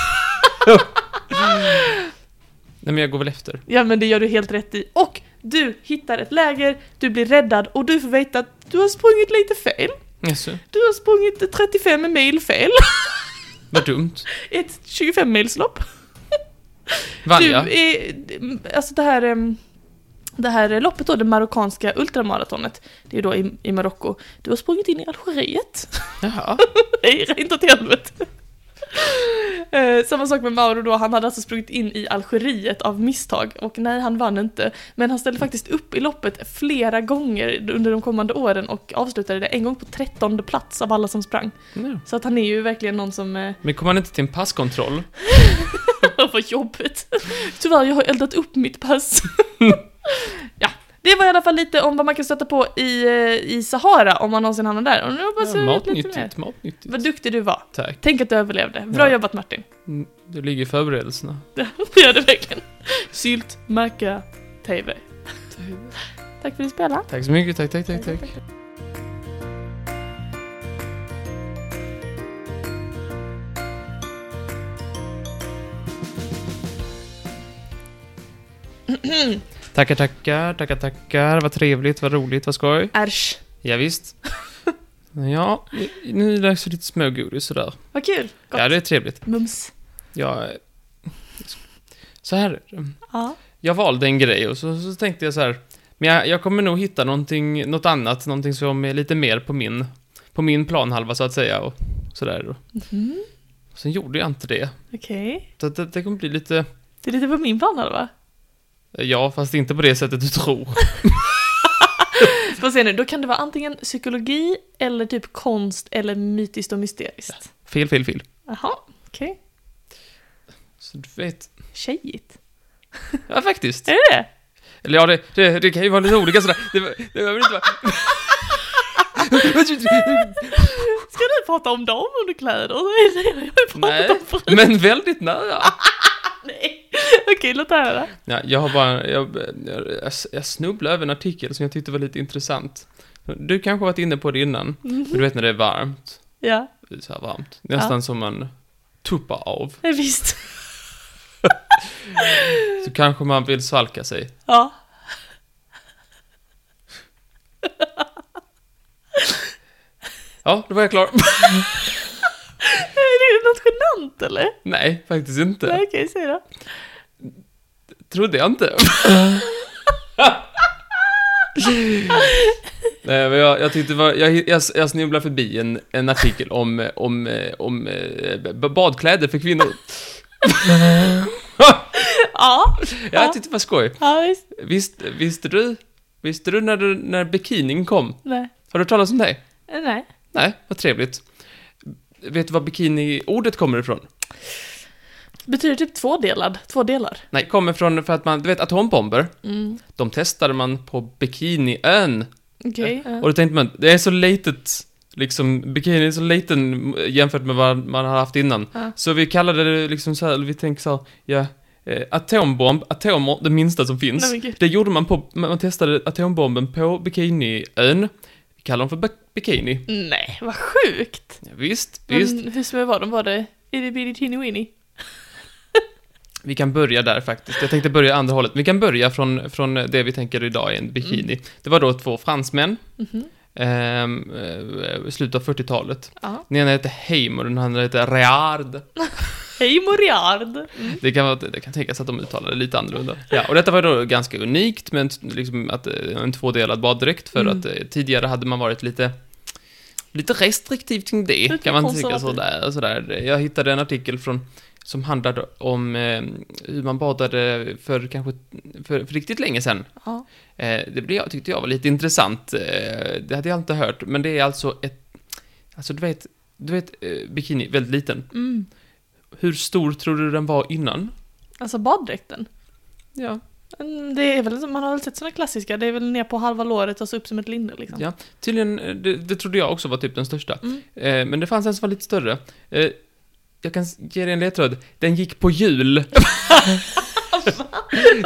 Nej men jag går väl efter.
Ja men det gör du helt rätt i. Och du hittar ett läger, du blir räddad och du får veta att du har sprungit lite fel.
Jaså,
Du har sprungit 35 mil fel.
vad dumt.
Ett 25 milslopp.
Vann
Du
jag?
är, alltså det här, em, det här loppet då, det marockanska ultramaratonet, det är då i, i Marocko. Du har sprungit in i Algeriet.
Jaha.
Nej, inte åt helvete. Eh, samma sak med Mauro då, han hade alltså sprungit in i Algeriet av misstag och nej, han vann inte. Men han ställde faktiskt upp i loppet flera gånger under de kommande åren och avslutade det en gång på trettonde plats av alla som sprang.
Nej.
Så att han är ju verkligen någon som... Eh,
Men kom han inte till en passkontroll?
vad jobbigt. Tyvärr, jag har eldat upp mitt pass. ja, det var i alla fall lite om vad man kan stöta på i, eh, i Sahara om man någonsin hamnar där. Och nu hoppas
Ja,
jag vet lite mer.
matnyttigt, matnyttigt.
Vad duktig du var.
Tack.
Tänk att du överlevde. Bra
Ja.
jobbat Martin.
Mm, Det ligger i förberedelserna.
Det gör det verkligen. Sylt, macka, TV. Tack för att du spelade.
Tack så mycket, tack, tack, tack, tack. Tackar, tackar, tackar, tackar. Vad trevligt, vad roligt, vad skoj.
Ärsch.
Ja, visst. Ja, nu är det dags för lite smågodis sådär.
Vad kul. Gott.
Ja, det är trevligt.
Mums.
Jag... eh, Så här är det.
Ja.
Jag valde en grej och så, så tänkte jag så här. Men jag, jag kommer nog hitta någonting, något annat, någonting som är lite mer på min, på min planhalva så att säga och sådär. Och
Mhm.
Sen gjorde jag inte det.
Okej.
Så att det, det kommer bli lite,
Det är lite på min plan va?
ja fast inte på det sättet du tror.
Får se nu, då kan det vara antingen psykologi eller typ konst eller mytiskt och mysteriskt.
Fel, fel, fel.
Jaha, okej.
Så du vet.
Tjejigt.
Ja faktiskt.
Är det det?
Eller ja, det, det, det kan ju vara lite olika sådär. Det, det behöver inte vara...
Ska du prata om damunderkläder? Nej, det har jag ju pratat
Nej,
om förut.
men väldigt nära.
Nej. Okej, låt höra.
Ja, jag har bara, jag, jag, jag snubblade över en artikel som jag tyckte var lite intressant. Du kanske har varit inne på det innan, men du vet när det är varmt,
Ja,
så här varmt, nästan som man tuppar av,
det är visst.
så kanske man vill svalka sig.
Ja.
Ja, då var jag klar.
Är det något genant eller?
Nej, faktiskt inte.
Nej, okej, säg då.
Trodde jag inte. Nej, men jag, jag tyckte det var, jag, jag, jag snubblade förbi en, en artikel om, eh, om, eh, om eh, b- badkläder för kvinnor.
Ja,
Jag tyckte det var skoj.
ja visst.
Visst, visste du? Visste du när, du när bikinin kom?
Nej.
Har du hört talas om det?
Eh, Nej.
Nej, vad trevligt. Vet du var bikini-ordet kommer ifrån?
Betyder typ tvådelad? Två delar?
Nej, kommer från för att man, du vet atombomber,
Mm.
de testade man på Bikiniön.
Okej.
Och då tänkte man, det är så litet, liksom, bikini är så liten jämfört med vad man har haft innan.
Ja.
Så vi kallade det liksom så här, eller vi tänkte så här, ja, eh, atombomb, atomer, det minsta som finns.
Nej, men gud.
Det gjorde man på, man testade atombomben på Bikiniön. Vi kallar dem för bi- Bikini.
Nej, vad sjukt!
Ja, visst, visst.
Men hur små var de? Var det itty bitty teeny weeny?
Vi kan börja där faktiskt. Jag tänkte börja andra hållet. Vi kan börja från, från det vi tänker idag är en bikini.
Mm.
Det var då två fransmän,
Mhm.
ehm, eh, i slutet av 40-talet.
Ja.
Den ena hette Heim och den andra hette Reard.
Hej Moriard!
Det kan, vara, det kan tänkas att de uttalar det lite annorlunda. Ja, och detta var då ganska unikt med en, t- liksom att, eh, en tvådelad baddräkt, för
Mm.
att eh, tidigare hade man varit lite lite restriktiv kring det,
Lite
kan man tycka.
konservativ.
Sådär, sådär. Jag hittade en artikel från som handlade om eh, hur man badade för kanske för, för riktigt länge sedan.
Ja.
Eh, det blev, jag tyckte jag var lite intressant. Eh, det hade jag inte hört, men det är alltså ett... Alltså du vet, du vet eh, bikini, väldigt liten.
Mm.
Hur stor tror du den var innan?
Alltså baddräkten.
Ja.
Mm, Det är väl, man har väl sett såna klassiska, det är väl ner på halva låret och så upp som ett linne liksom.
Ja. Tydligen, eh, det, det trodde jag också var typ den största.
Mm.
Eh, men det fanns en som var lite större. Eh, jag kan s- ge dig en ledtråd. Den gick på hjul.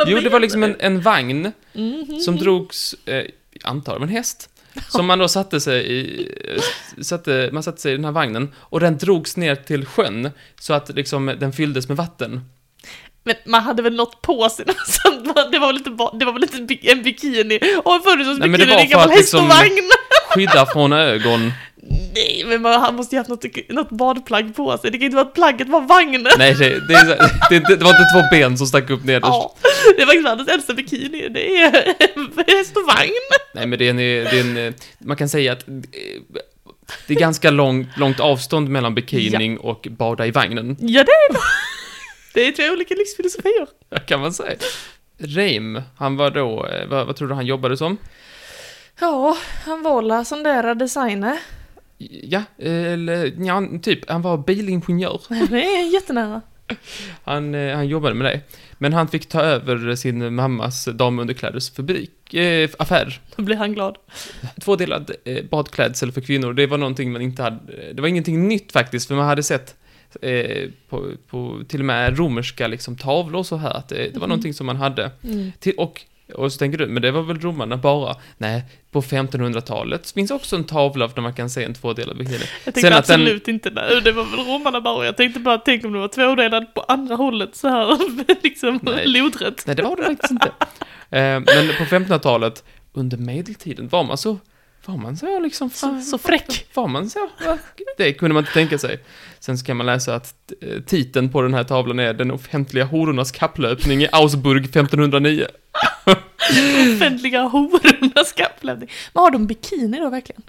jo, det var liksom en, en vagn
Mhm.
som drogs, eh, jag antar av en häst. Som man då satte sig i, eh, s- satte, man satte sig i den här vagnen och den drogs ner till sjön så att liksom den fylldes med vatten.
Men man hade väl något på sig som, det var väl inte, ba- det var väl inte en bi- en bikini? Och en födelsedagsbikini,
Nej, men det
det
var
är en
för
gammal
att
häst och
liksom-
vagn!
Skydda från ögon.
Nej, men man, han måste ju haft något, något badplagg på sig, det kan ju inte vara att plagget var vagnen!
Nej, det, det, är så- det, det, det var inte två ben som stack upp nederst.
Ja, det är faktiskt världens äldsta bikini, det är häst och vagn!
Nej, men det är en, det är en, eh, man kan säga att eh, det är ganska långt, långt avstånd mellan bikining och bada i vagnen,
Ja, det är det! Det är tre olika livsfilosofier.
kan man säga. Reim, han var då, eh, vad, vad tror du han jobbade som?
Ja, han var la sån där designer.
Ja, eller ja, typ, han var bilingenjör.
Det är jättenära.
Han, eh, han jobbade med det. Men han fick ta över sin mammas damunderklädesfabrik, eh, affär.
Då blir han glad.
Tvådelad eh, badklädsel för kvinnor, det var någonting man inte hade, eh, det var ingenting nytt faktiskt, för man hade sett eh, på, på till och med romerska liksom, tavlor och så här, att det, det var
Mhm.
någonting som man hade.
Mm.
Till, och, och så tänker du, men det var väl romarna bara? Nej, på 1500-talet finns också en tavla där man kan se en tvådelad bikini.
Jag tänkte
Sen att den-
absolut inte det. Det var väl romarna bara. Jag tänkte bara, tänk om det var tvådelad på andra hållet så här. liksom
Nej.
lodrätt.
Nej, det var det faktiskt inte. Eh, men på 1500-talet, under medeltiden, var man så... Var man så liksom?
Så, så fräck.
Var man så? Va? Det kunde man inte tänka sig. Sen så kan man läsa att eh, titeln på den här tavlan är Den offentliga horornas kapplöpning i Augsburg 1509.
Offentliga horornas kapplämning. Men har de bikini då verkligen?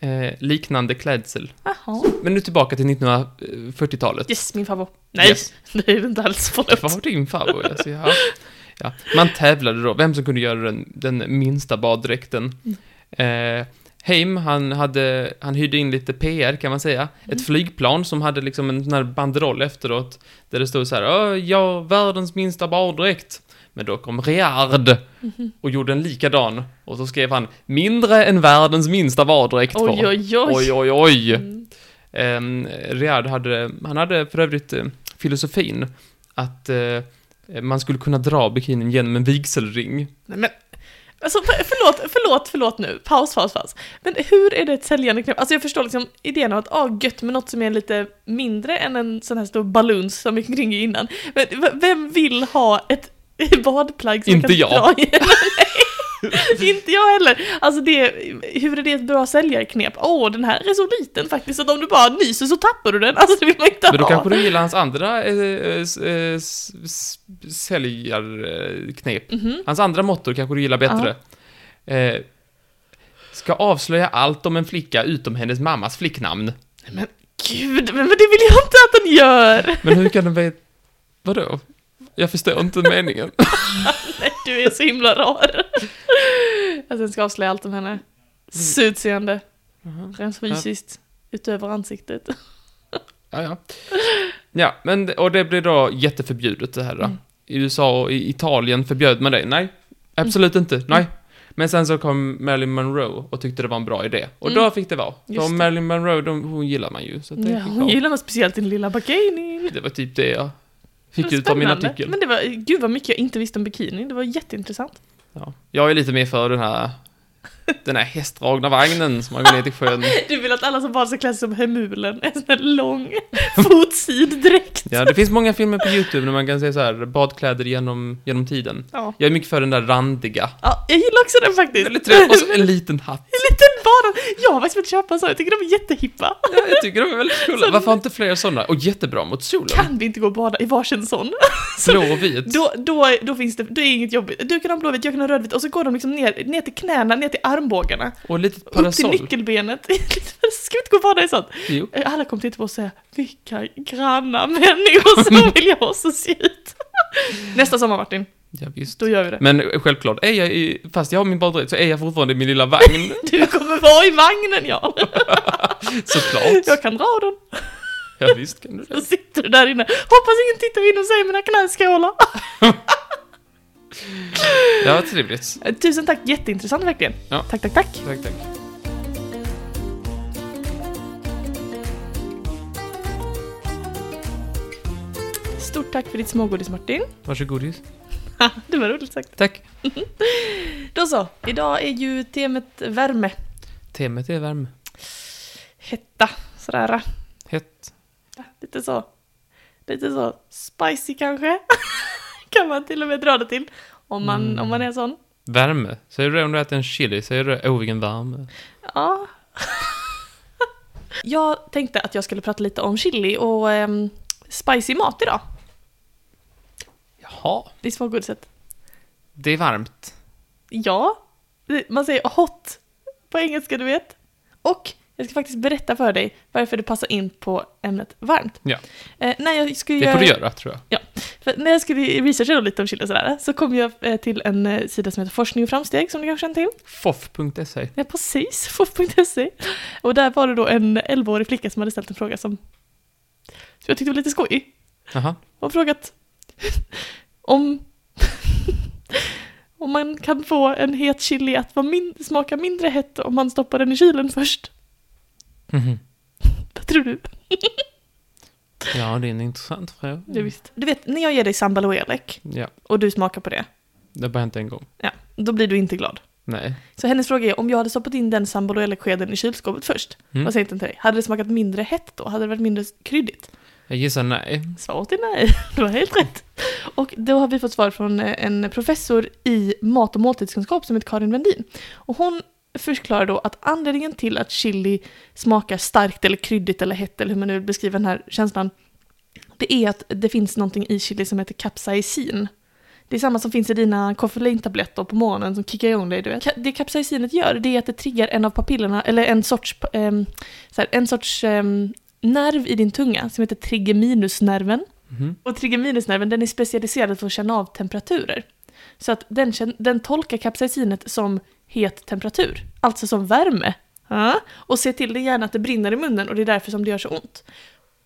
Eh, liknande klädsel.
Jaha.
Men nu tillbaka till 1940-talet.
Yes, min favorit. Nej,
Yes.
det är det inte alls.
Det
Förlåt.
var din favorit. Alltså, ja. Ja. Man tävlade då, vem som kunde göra den, den minsta baddräkten.
Mm.
Eh, Heim, han, hade, han hyrde in lite PR kan man säga.
Mm.
Ett flygplan som hade liksom en sån här banderoll efteråt. Där det stod så här, "Åh, ja, världens minsta baddräkt. Men då kom Riard
Mhm.
och gjorde en likadan. Och så skrev han, mindre än världens minsta baddräkt. på."
Oj, oj, oj.
oj, oj, oj.
Mm.
Um, Riad hade, han hade för övrigt eh, filosofin att eh, man skulle kunna dra bikinin genom en vigselring.
Nej, men, alltså, för- förlåt, förlåt, förlåt nu. Paus, paus, paus. Men hur är det ett säljande knep? Alltså jag förstår liksom idén om att ah, gött med något som är lite mindre än en sån här stor baluns som gick omkring innan. Men v- vem vill ha ett badplagg som
Inte
kan
jag.
dra igenom? Nej, Inte jag heller! Alltså det, hur är det ett bra säljarknep? Åh, den här är så liten faktiskt att om du bara nyser så tappar du den! Alltså det vill man inte
Men då
ha!
kanske du gillar hans andra eh, eh, s- eh, s- s- säljarknep.
Mhm.
Hans andra motto kanske du gillar bättre. Eh, ska avslöja allt om en flicka utom hennes mammas flicknamn.
Men gud, men, men det vill jag inte att den gör!
Men hur kan den veta... Vadå? Jag förstår inte meningen.
Nej, du är så himla rar. Mm. Att den ska avslöja allt om henne. Utseende, rent fysiskt, utöver ansiktet.
Ja, ja. ja men, och det blir då jätteförbjudet det här då.
Mm.
I USA och i Italien förbjöd man det. Nej, absolut
Mm.
inte. Nej. Men sen så kom Marilyn Monroe och tyckte det var en bra idé. Och då
Mm.
fick det vara.
Just
För
det.
Marilyn Monroe, de, hon gillar man ju. Så att det,
Ja,
fick
hon
vara.
gillar mig speciellt din lilla bikini.
det var typ det jag
Det
fick
var
ut av min
spännande.
artikel.
Men det var, gud vad mycket jag inte visste om bikini, det var jätteintressant.
Ja. Jag är lite mer för den här Den här hästdragna vagnen som man går ner till sjön.
Du vill att alla som barn ska klä sig som Hemulen, en sån här lång fotsidräkt.
Ja, det finns många filmer på YouTube när man kan se så här badkläder genom, genom tiden.
Ja.
Jag är mycket för den där randiga.
ja, jag gillar också den faktiskt.
Väldigt trött. Och så en liten hatt.
En liten bara. Jag har faktiskt velat köpa en sån, jag tycker de är jättehippa.
Ja, jag tycker de är väldigt coola. Varför har inte fler sådana? Och jättebra mot solen.
Kan vi inte gå och bada i varsin sån?
Blå och vit.
Då, då, då finns det, då är det inget jobbigt. Du kan ha en blåvit, jag kan ha en rödvit och så går de liksom ner, ner till knäna, ner till armbågarna.
Och litet
Upp till
parasoll.
nyckelbenet. Ska vi inte gå och bada i sånt? Eh,
Jo.
Alla kommer titta på oss och säga, vilka granna människor som vill jag också se ut. Nästa sommar Martin,
Ja, visst.
då gör vi det.
Men självklart, är jag i, fast jag har min baddräkt så är jag fortfarande i min lilla vagn.
Du kommer vara i vagnen ja.
Såklart.
Jag kan dra den.
Ja, visst kan du det.
Så sitter du där inne. Hoppas ingen tittar in och säger mina knäskålar.
Ja, trevligt.
Eh, Tusen tack, jätteintressant verkligen.
Ja.
Tack, tack, tack.
Tack, tack.
Stort tack för ditt smågodis Martin.
Varsågodis.
det var roligt sagt.
Tack.
Då så, idag är ju temat värme.
Temat är värme.
Hetta, sådär.
Hett.
Lite så. Lite så spicy kanske. kan man till och med dra det till. Om man,
Mm.
om man är sån.
Värme. Säger du det om du äter en chili? Säger du det? Åh, vilken värme.
Ja. jag tänkte att jag skulle prata lite om chili och ehm, spicy mat idag.
Jaha.
Det är smågodiset.
Det är varmt.
Ja, det- man säger hot på engelska, du vet. Och jag ska faktiskt berätta för dig varför det passar in på ämnet varmt.
Ja.
Eh, när jag skulle
Det får du göra, tror jag.
För när jag skulle researcha då lite om chili och sådär, så kom jag eh, till en eh, sida som heter Forskning och framsteg, som du kanske känner till?
Foff.se.
Ja, precis, fof.se. Och där var det då en 11-årig flicka som hade ställt en fråga som, som jag tyckte var lite skojig.
Jaha.
Hon har frågat om, om man kan få en het chili att vara min, smaka mindre hett om man stoppar den i kylen först.
Mhm.
Vad tror du?
Ja, det är en intressant fråga.
Det visst. Du vet, när jag ger dig sambal och elek
Ja,
och du smakar på det,
det har bara hänt en gång.
ja, då blir du inte glad.
Nej.
Så hennes fråga är om jag hade stoppat in den sambal och elekskeden i kylskåpet först,
Mm.
vad säger den till dig? Hade det smakat mindre hett då? Hade det varit mindre kryddigt?
Jag gissar nej.
Svaret är nej, du har helt rätt. Och då har vi fått svar från eh, en professor i mat och måltidskunskap som heter Karin Wendin. Och hon förklarar då att anledningen till att chili smakar starkt eller kryddigt eller hett eller hur man nu beskriver den här känslan, det är att det finns någonting i chili som heter capsaicin. Det är samma som finns i dina koffeintabletter på morgonen som kickar igång dig, du vet. Ka- Det capsaicinet gör, det är att det triggar en av papillerna, eller en sorts, ehm, så här, en sorts ehm, nerv i din tunga som heter trigeminusnerven.
Mhm.
Och trigeminusnerven den är specialiserad för att känna av temperaturer. Så att den, kän- den tolkar capsaicinet som het temperatur, alltså som värme. Ja. Och ser till det gärna att det brinner i munnen och det är därför som det gör så ont.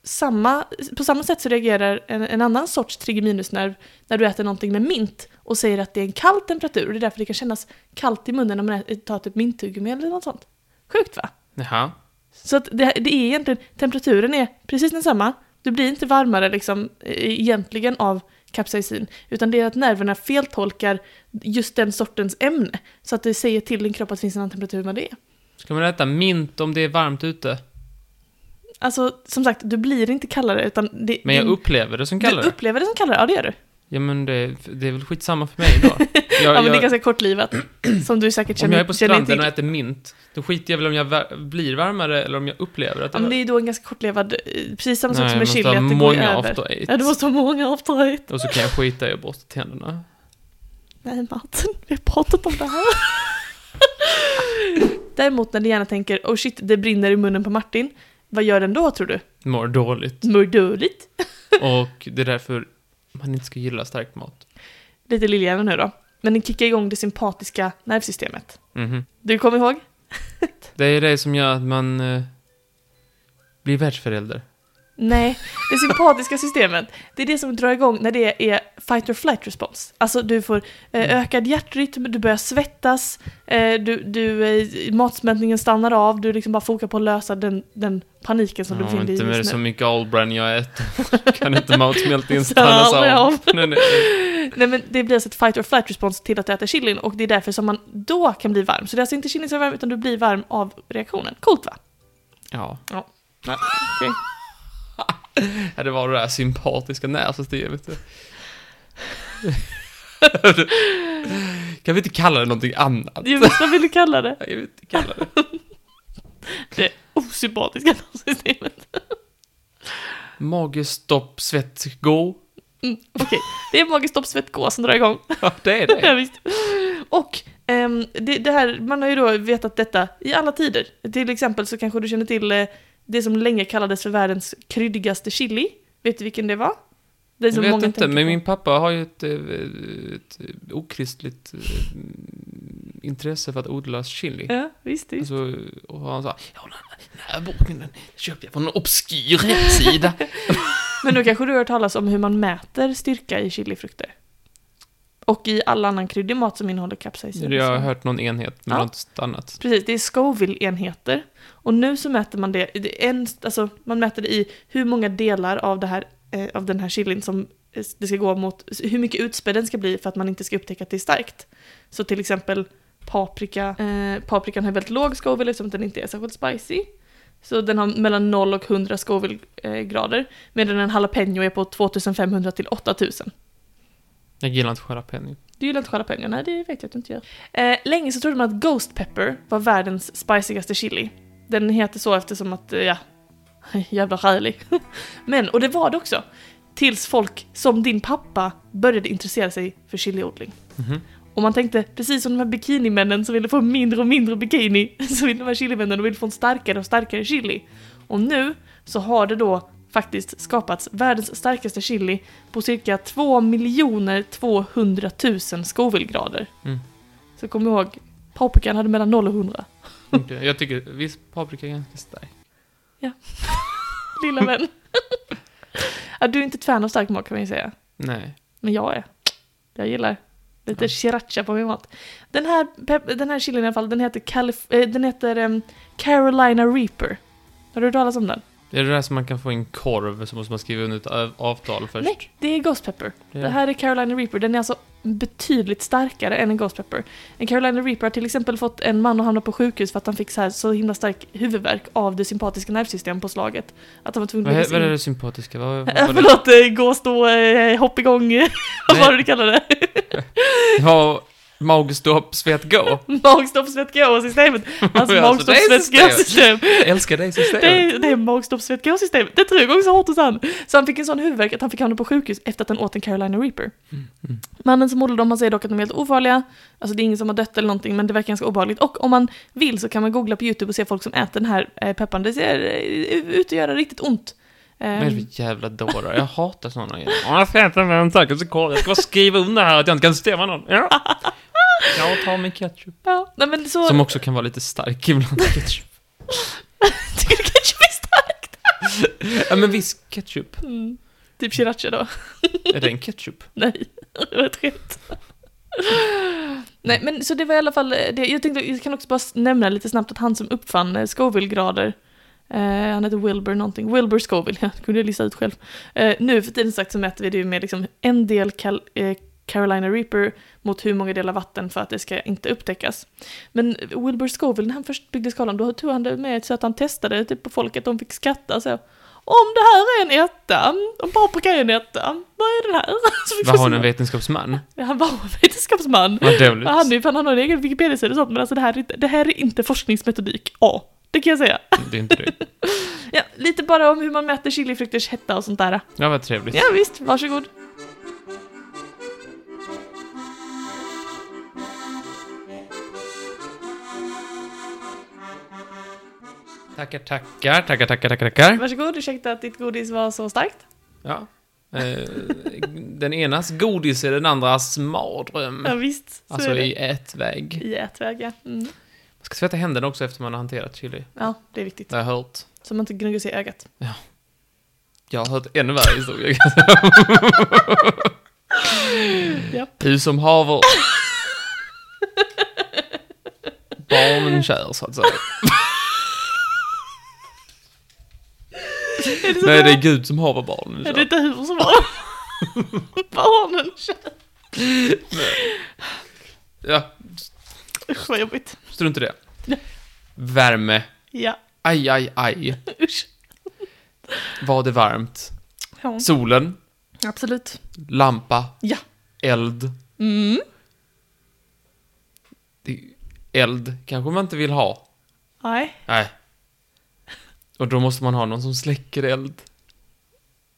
Samma, på samma sätt så reagerar en, en annan sorts trigeminusnerv när du äter någonting med mint och säger att det är en kall temperatur och det är därför det kan kännas kallt i munnen när man ä- tar typ minttuggummi eller något sånt. Sjukt va?
Jaha.
Så att det, det är egentligen, temperaturen är precis densamma. Du blir inte varmare liksom eh, egentligen av capsaicin, utan det är att nerverna feltolkar just den sortens ämne. Så att det säger till din kropp att det finns en annan temperatur än vad det är.
Ska man äta mint om det är varmt ute?
Alltså, som sagt, du blir inte kallare utan det...
Men jag
din-
upplever det som
Du
kallare.
upplever det som kallare, ja det gör du.
Ja, men det, det är väl skitsamma för mig då. Jag,
Ja, men det är
jag,
ganska kortlivat. Som du säkert
om
känner,
jag är på
känner
stranden och
till.
äter mint, då skiter jag väl om jag vär- blir varmare eller om jag upplever att
Ja,
jag...
men det är ju då en ganska kortlevad, eh, precis samma sak som med
jag
chili,
måste ha
att det går
många
över.
after eight.
Ja, du måste ha många after eight.
Och så kan jag skita i att borsta tänderna.
Nej Martin, vi har pratat om det här. Däremot när du gärna tänker oh shit, det brinner i munnen på Martin. Vad gör den då tror du?
Mår dåligt.
Mår dåligt?
Och det är därför man inte ska gilla stark mat.
Lite lillhjärna nu då. Men den kickar igång det sympatiska nervsystemet.
Mhm.
Du kommer ihåg?
Det är det som gör att man eh, blir världsförälder.
Nej, det sympatiska systemet, det är det som drar igång när det är fight or flight respons. Alltså du får
Mm.
eh, ökad hjärtrytm, du börjar svettas, eh, du, du, eh, matsmältningen stannar av, du liksom bara fokar på att lösa den, den paniken som du
Ja,
befinner dig i
inte med
just nu.
så mycket allbrand jag äter. kan inte matsmältningen stanna
Stanna
av. Nej, nej.
Nej men det blir alltså ett fight or flight respons till att äta chilin och det är därför som man då kan bli varm. Så det är alltså inte chilin som är varm utan du blir varm av reaktionen. Coolt va?
Ja.
Ja.
Nej, ja, det var det där sympatiska nervsystemet. kan vi inte kalla det någonting annat?
Jo, visst, vad vill du kalla det?
Jag vill inte kalla det.
Det osympatiska nervsystemet.
Magestopp, svett, gå.
Mm, Okej, det är magestopp, svett, gås som drar igång.
Ja, det är
Ja,
det.
visst. Och ehm, det, det här, man har ju då vetat detta i alla tider. Till exempel så kanske du känner till eh, det som länge kallades för världens kryddigaste chili. Vet du vilken det var? Det
Jag
som
vet
tänker
inte, men
på.
min pappa har ju ett, eh, ett eh, okristligt eh, intresse för att odla chili.
Ja, visst. visst.
Alltså, och han sa, ja, den här- den här boken den köpte jag från en obskyr hemsida.
Men då kanske du har hört talas om hur man mäter styrka i chilifrukter? Och i all annan kryddig mat som innehåller kapsaicin.
jag har hört någon enhet, men
Ja.
det har inte stannat.
Precis, det är Scoville-enheter. Och nu så mäter man det, det är en, alltså man mäter det i hur många delar av, det här, eh, av den här chilin som eh, det ska gå mot, hur mycket utspädd den ska bli för att man inte ska upptäcka att det är starkt. Så till exempel paprika, eh, paprikan har väldigt låg Scoville eftersom den inte är särskilt spicy. Så den har mellan 0 och 100 Scoville-grader, medan en jalapeno är på 2500 till 8000.
Jag gillar inte jalapeno.
Du gillar inte jalapeno? Nej, det vet jag att du inte gör. Eh, länge så trodde man att Ghost Pepper var världens spicigaste chili. Den heter så eftersom att, eh, ja, jävla rälig. Men, och det var det också. Tills folk, som din pappa, började intressera sig för chiliodling.
Mhm.
Och man tänkte, precis som de här bikinimännen som ville få mindre och mindre bikini, så vill de här chilimännen de vill få en starkare och starkare chili. Och nu så har det då faktiskt skapats världens starkaste chili på cirka 2 miljoner 200 000 Scoville-grader.
Mm.
Så kom ihåg, paprikan hade mellan 0 och 100.
Inte- Jag tycker viss paprika är ganska stark.
Lilla vän. ja, du är inte ett fan av stark mat kan man ju säga.
Nej.
Men jag är. Jag gillar. Lite
Ja.
sriracha på min mat. Den här, pep- den här chilin i alla fall, den heter, Calif- eh, den heter ehm, Carolina Reaper. Har du hört talas om den?
Det är det där som man kan få en korv, så måste man skriva under ett av- avtal först.
Nej, det är Ghost Pepper.
Det-
Det här är Carolina Reaper, den är alltså betydligt starkare än en Ghost Pepper. En Carolina Reaper har till exempel fått en man att hamna på sjukhus för att han fick så, här, så himla stark huvudvärk av det sympatiska nervsystemet på slaget. Att han var tvungen
Vad,
att
he-
läggas
vad är
in.
det sympatiska? Vad, vad,
Eh,
var det?
Förlåt, eh, gå och stå, eh, hopp igång, eh, vad
Nej.
var det du kallade det?
det var magstopp, svett, gå.
Magstopp, svett, gå-systemet. Alltså
Ja, alltså,
magstopp,
det är
svett, gå-system.
Jag älskar dig systemet.
Det är, det är magstopp, svett, gå-systemet. Det är tre gånger så hårt hos han. Så han fick en sån huvudvärk att han fick hamna på sjukhus efter att han åt en Carolina Reaper.
mm.
Mannen som odlade dem, han säger dock att de är helt ofarliga. Alltså det är ingen som har dött eller någonting, men det verkar ganska obehagligt. Och om man vill så kan man googla på YouTube och se folk som äter den här eh, pepparn. Det ser eh, ut att göra riktigt ont.
Vad är
Ehm,
det för jävla dårar? Jag hatar sådana. Ja, Jag ska äta med en taco så korv. Jag ska bara skriva under här att jag inte kan stämma någon. Ja. Jag tar min ketchup.
ja, nej men så...
Som också kan vara lite stark ibland. Ketchup.
Tycker du kanske är starkt?
Ja, men viss ketchup.
Mm. Typ sriracha då.
Är det en ketchup?
Nej, det var ett skämt. Nej, men så det var i alla fall eh, det. Jag tänkte, jag kan också bara nämna lite snabbt att han som uppfann eh, Scoville-grader, eh, han heter Wilbur någonting, Wilbur Scoville, jag kunde jag lista ut själv. Eh, nu för tiden sagt så mäter vi det ju med liksom en del Cal- eh, Carolina Reaper mot hur många delar vatten för att det ska inte upptäckas. Men Wilbur Scoville, när han först byggde skalan, då tog han det med så att han testade typ på folk att de fick skratta så. Om det här är en etta, om paprika är en etta, vad är den här? Så fick
Vad har
folk-
hon, en vetenskapsman?
han var vetenskapsman.
Vad dåligt.
Han, är ju fan, han har en egen Wikipedia-sida och sånt, men alltså det här, är inte- det här är inte forskningsmetodik A. Det kan jag säga.
Det är inte det.
Ja, lite bara om hur man mäter chilifrukters hetta och sånt där.
Ja, vad trevligt.
Ja, visst, varsågod.
Tackar, tackar, tackar, tackar, tackar, tackar.
Varsågod, ursäkta att ditt godis var så starkt.
Ja. Eh, den enas godis är den andras mardröm.
Ja, visst, så
Alltså
är det.
i ätväg.
I ätväg, ja. Mm.
Man ska tvätta händerna också efter man har hanterat chili.
Ja, det är viktigt.
Det har jag hört.
Så man inte gnuggar sig i ögat.
Jag har hört ännu värre historier.
Japp.
Du som haver. Barnen kär, så att säga.
Är det så
Nej, det
bra?
är Gud som haver barnen
Är det
kär.
inte humor som var? Barnen kör.
Ja,
Usch vad jobbigt.
strunt i det. Värme.
Ja,
Aj, aj, aj.
usch.
Var det varmt?
Ja,
Solen.
absolut.
Lampa.
Ja.
Eld.
Mm.
Det- Eld kanske man inte vill ha.
Nej.
Nej. Och då måste man ha någon som släcker eld.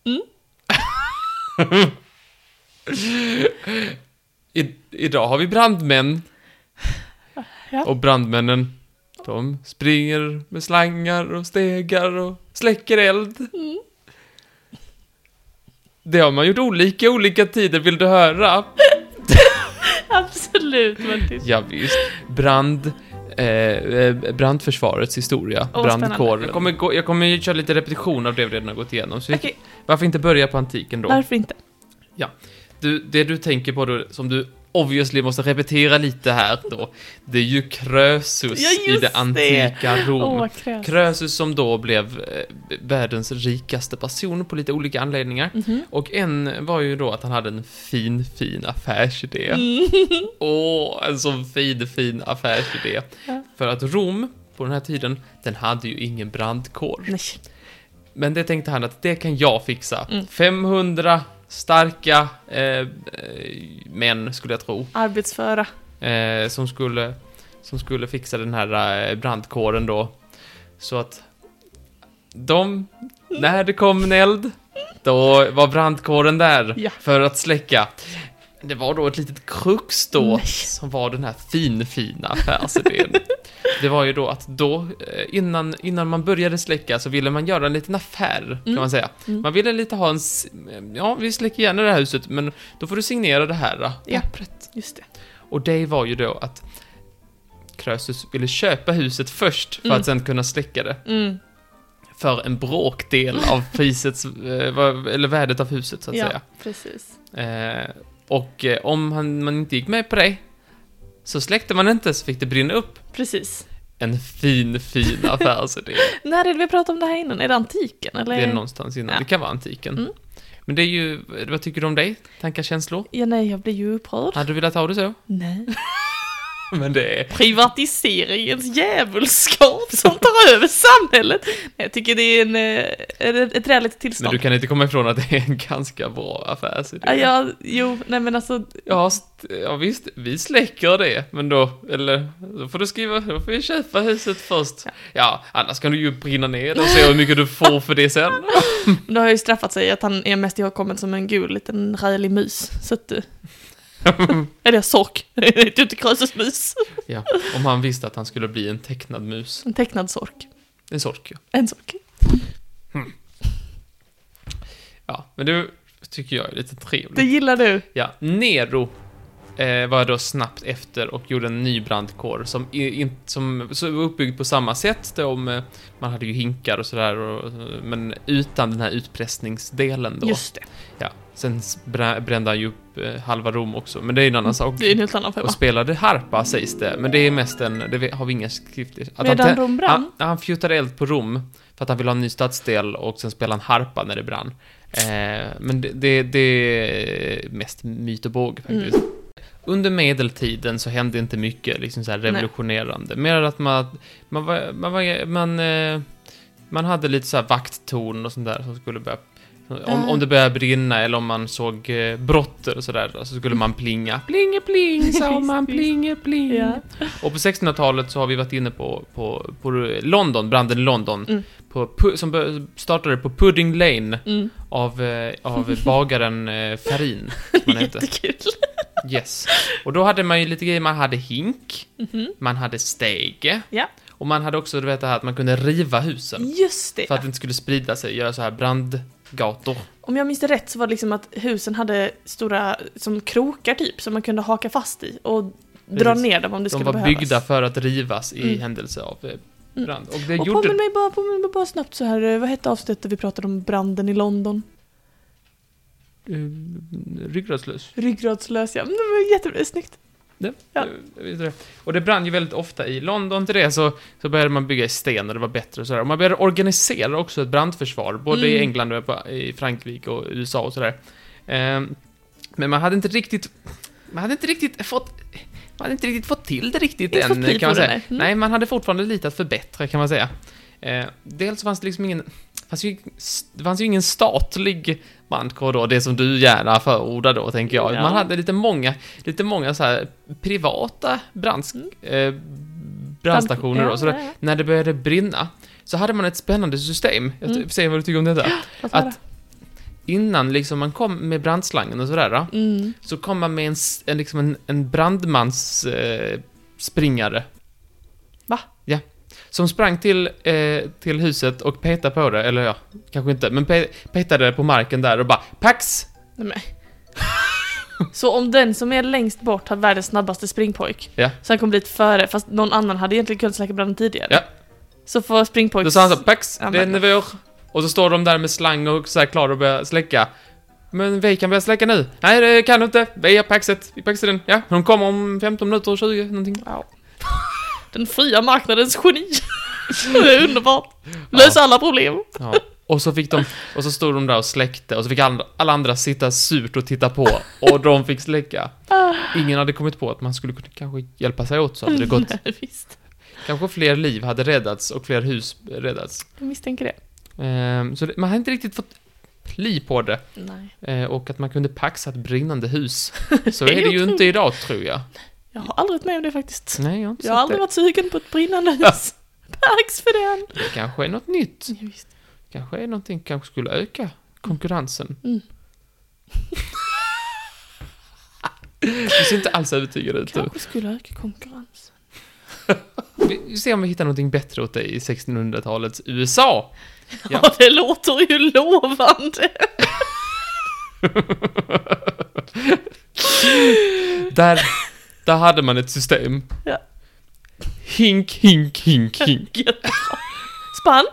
Mm.
I, idag har vi brandmän.
Ja.
Och brandmännen, de springer med slangar och stegar och släcker eld.
Mm.
Det har man gjort olika i olika tider, vill du höra?
Absolut Martin.
Ja, visst. Brand, eh, eh, brandförsvarets historia.
Åh,
brandkåren.
spännande.
Jag kommer, gå, jag kommer ju köra lite repetition av det vi redan har gått igenom. Så vi,
Okej,
Varför inte börja på antiken då?
varför inte?
Du, det du tänker på då, som du obviously måste repetera lite här då, det är ju Krösus
Ja,
i
just
det
det.
antika Rom.
Åh, vad krävs.
Krösus som då blev eh, världens rikaste person på lite olika anledningar.
Mhm.
Och en var ju då att han hade en fin, fin affärsidé.
Mm.
Åh, en sån fin, fin affärsidé.
Ja.
För att Rom, på den här tiden, den hade ju ingen brandkår.
Nej.
Men det tänkte han att det kan jag fixa.
Mm.
500 starka eh, eh, män, skulle jag tro,
Arbetsföra.
eh, som, skulle, som skulle fixa den här eh, brandkåren då. Så att de, när det kom en eld, då var brandkåren där
Ja.
för att släcka. Det var då ett litet krux då,
Nej.
som var den här finfina affärsidén. Det var ju då att då, eh, innan, innan man började släcka så ville man göra en liten affär, kan
Mm.
man säga.
Mm.
Man ville lite ha en, s- ja vi släcker gärna det här huset, men då får du signera det här eh,
Ja.
pappret.
Just det.
Och det var ju då att Krösus ville köpa huset först för
Mm.
att sen kunna släcka det.
Mm.
För en bråkdel av prisets, eh, vad- eller värdet av huset så att
ja,
säga.
precis.
Eh, och eh, om han, man inte gick med på det, så släckte man inte så fick det brinna upp.
Precis.
En fin, fin affärsidé.
När är det vi pratade om det här innan? Är det antiken? Eller?
det är någonstans innan,
Ja.
det kan vara antiken.
Mm.
Men det är ju, vad tycker du om det? Tankar, känslor?
Ja, nej, jag blir ju upprörd.
Hade du velat ha det så?
Nej.
Men det är...
privatiseringens djävulskap som tar över samhället. Nej, Jag tycker det är en, eh, ett, ett räligt
Men
tillstånd.
du kan inte komma ifrån att det är en ganska bra affärsidé.
Ja, ja, jo, nej men alltså,
Ja, st- ja visst, vi släcker det, men då, eller, då får du skriva, då får vi köpa huset först. Ja. annars kan du ju brinna ner det och se hur mycket du får för det sen.
det har ju straffat sig att han är mest ihågkommen som en gul liten rälig mus. Så att, eh, eller sork, det är ju inte Krösus mus.
ja, om han visste att han skulle bli en tecknad mus.
En tecknad sork.
En sork, ja.
En sork.
ja. Men det tycker jag är lite trevligt.
Det gillar du.
Ja, Nero eh, var då snabbt efter och gjorde en ny brandkår som, i- in, som så var uppbyggd på samma sätt. Då med, man hade ju hinkar och sådär, och, men utan den här utpressningsdelen då.
Just det.
Ja, sen s- brä- brände han ju upp eh, halva Rom också, men det är ju en annan sak.
Mm, Det är en helt annan
Och
femma.
spelade harpa sägs det, men det är mest en, det vet- har vi inga skrifter. Att han,
Medan
tä-
Rom brann.
han, han fjutade eld på Rom för att han ville ha en ny stadsdel och sen spelade han harpa när det brann. Eh, men det, det, det är mest myt och båg faktiskt.
Mm.
Under medeltiden så hände inte mycket liksom så här
Nej.
revolutionerande. Mer att man, man, var, man, var, man, eh, man hade lite så här vakttorn och sånt där som skulle börja om,
Ah.
om det började brinna eller om man såg eh, brotter och sådär, så
Mm.
skulle man plinga. Plinge pling, sa
Visst,
man,
visst.
plinge pling.
Ja. Mm.
Och på 1600-talet så har vi varit inne på, på, på London, branden i London,
Mm.
på, pu- som bör- startade på Pudding Lane
Mm.
av, eh, av bagaren eh, Farin. som han hette.
Jättekul.
Yes. Och då hade man ju lite grejer, man hade hink,
Mhm.
man hade stege,
Ja.
och man hade också, du vet det här att man kunde riva husen.
Just det.
För att det inte skulle sprida sig, göra så här brandgator.
Om jag minns det rätt så var det liksom att husen hade stora som krokar typ som man kunde haka fast i och dra
Precis.
ner dem om det
De
skulle
var
behövas.
byggda för att rivas i
Mm.
händelse av eh,
Mm.
brand. Och det
och
gjorde...
påminn mig bara, påminn mig bara snabbt så här, eh, vad hette avsnittet där vi pratade om branden i London?
Eh, Ryggradslös.
Ryggradslös ja, men det var jättebra, snyggt. Ja.
Eh, jag vet inte. Och det brann ju väldigt ofta i London. Till det så, så började man bygga i sten och det var bättre och sådär. Och man började organisera också ett brandförsvar, både i
Mm.
England och på, i Frankrike och USA och sådär. Eh, men man Ehm, hade inte riktigt Man hade inte riktigt fått... Man hade inte riktigt fått till det riktigt
Inte fått
än,
pli på
kan man
det,
säga.
nej. Mm.
Nej, man hade fortfarande lite att förbättra, kan man säga. Eh, dels fanns det liksom ingen... Fanns ju, det fanns ju ingen statlig brandkår då, det som du gärna förordar då, tänker jag.
Ja.
Man hade lite många, lite många så här privata brands,
Mm.
eh, brandstationer då. Så
Ja,
det,
ja, ja.
när det började brinna så hade man ett spännande system. Jag
Mm.
mm. säger vad du tycker om detta.
Låt höra.
Att innan liksom man kom med brandslangen och sådär, då,
Mm.
så kom man med en, s- en, liksom en, en brandmans eh, springare.
Va?
Ja. Som sprang till, eh, till huset och petade på det, eller ja, kanske inte, men pe petade på marken där och bara PAX!
Nej, men. Så om den som är längst bort har världens snabbaste springpojk,
Ja.
så han kom dit före, fast någon annan hade egentligen kunnat släcka branden tidigare.
Ja.
Så får springpojk...
Då sa han så PAX!
Ja,
det är
men-
vår! Och så står de där med slang och så här klara att börja släcka. Men vi kan börja släcka nu. Nej, det kan du inte. Vi har paxet. Vi paxar den. Ja, de kommer om 15 minuter, 20 någonting.
Ja. Den fria marknadens geni! det är underbart! Lös alla problem!
Ja. Och så fick de, och så stod de där och släckte och så fick alla, alla andra sitta surt och titta på och de fick släcka. Ingen hade kommit på att man skulle kunna kanske hjälpa sig åt så hade det gått.
Nej, visst.
Kanske fler liv hade räddats och fler hus räddats.
Jag misstänker det.
Ehm, så det, man hade inte riktigt fått pli på det
Nej.
eh, och att man kunde paxa ett brinnande hus. Så
Det
är
är
det ju
otroligt.
inte idag tror jag.
Jag har aldrig varit med om det faktiskt.
Nej, jag har inte
Jag har
sett
aldrig
det.
varit sugen på ett brinnande hus.
Mm. Ja.
Tack för den!
Det kanske är något nytt.
Ja, visst.
Kanske är någonting kanske skulle öka konkurrensen.
Mm.
Du ser inte alls övertygad ut. du.
Kanske skulle öka konkurrensen.
Vi vi ser om vi hittar någonting bättre åt dig i 1600-talets USA. Ja.
Ja. det låter ju lovande!
Där, där hade man ett system.
Ja.
Hink, hink, hink, hink.
Jättebra. Spann?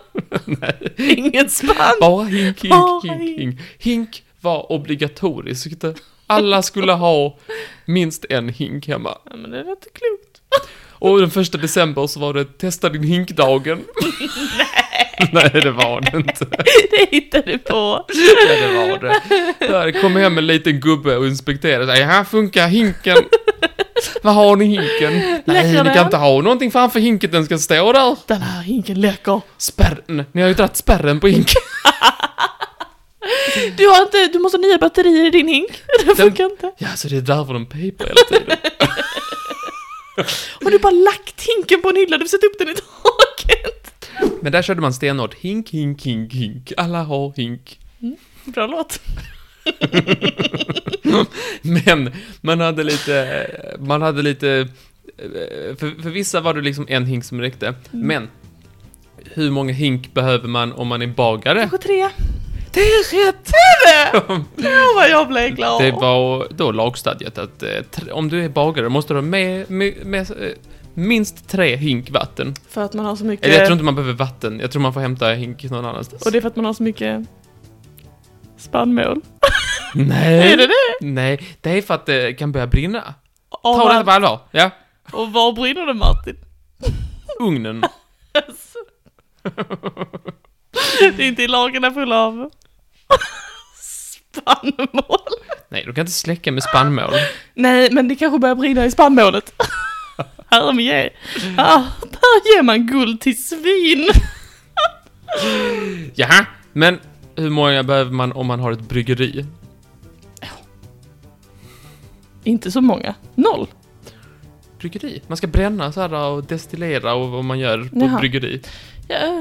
Ingen spann!
Bara hink, hink,
Bara
hink,
hink.
hink. Hink var obligatoriskt. Alla skulle ha minst en hink hemma.
Ja, men det är inte klokt.
Och den första december så var det testa din hinkdagen. Nej. Nej, det var det inte.
Det hittade du på.
Ja, det var det. Där kom hem en liten gubbe och inspekterade. Så här, här funkar hinken. Vad har ni i hinken? Nej,
Läcker
ni kan
den?
inte ha någonting framför hinken. Den ska stå där.
Den här hinken läcker.
Spärren. Ni har ju dragit spärren på hinken.
Du har inte, du måste ha nya batterier i din hink. Det funkar inte.
Ja, så det är därför de piper hela tiden.
Har du bara lagt hinken på en hylla? Du har satt upp den i taket.
Men där körde man stenhårt. Hink, hink, hink, hink. Alla har hink.
Bra låt.
Men man hade lite, man hade lite, eh, för, för vissa var det liksom en hink som räckte.
Mm.
Men hur många hink behöver man om man är bagare?
Kanske tre.
Det är rätt!
Åh, vad jag blev glad.
Det var då lagstadgat att eh, tre, om du är bagare måste du ha med, med, med eh, minst tre hink vatten.
För att man har så mycket...
Eller jag tror inte man behöver vatten, jag tror man får hämta hink någon annanstans.
Eh. Och det är för att man har så mycket spannmål.
Nej!
Är det det?
Nej, det är för att det kan börja brinna.
Av
Ta det
allt.
på allvar. Ja,
Och var brinner det Martin?
ugnen.
Det är inte i lagren full av spannmål.
Nej, du kan inte släcka med spannmål.
Nej, men det kanske börjar brinna i spannmålet. Herremje. Ah, där ger man guld till svin.
Jaha, men hur många behöver man om man har ett bryggeri?
Inte så många. Noll.
Bryggeri? Man ska bränna så här och destillera och vad man gör på
Jaha.
ett bryggeri.
Ja,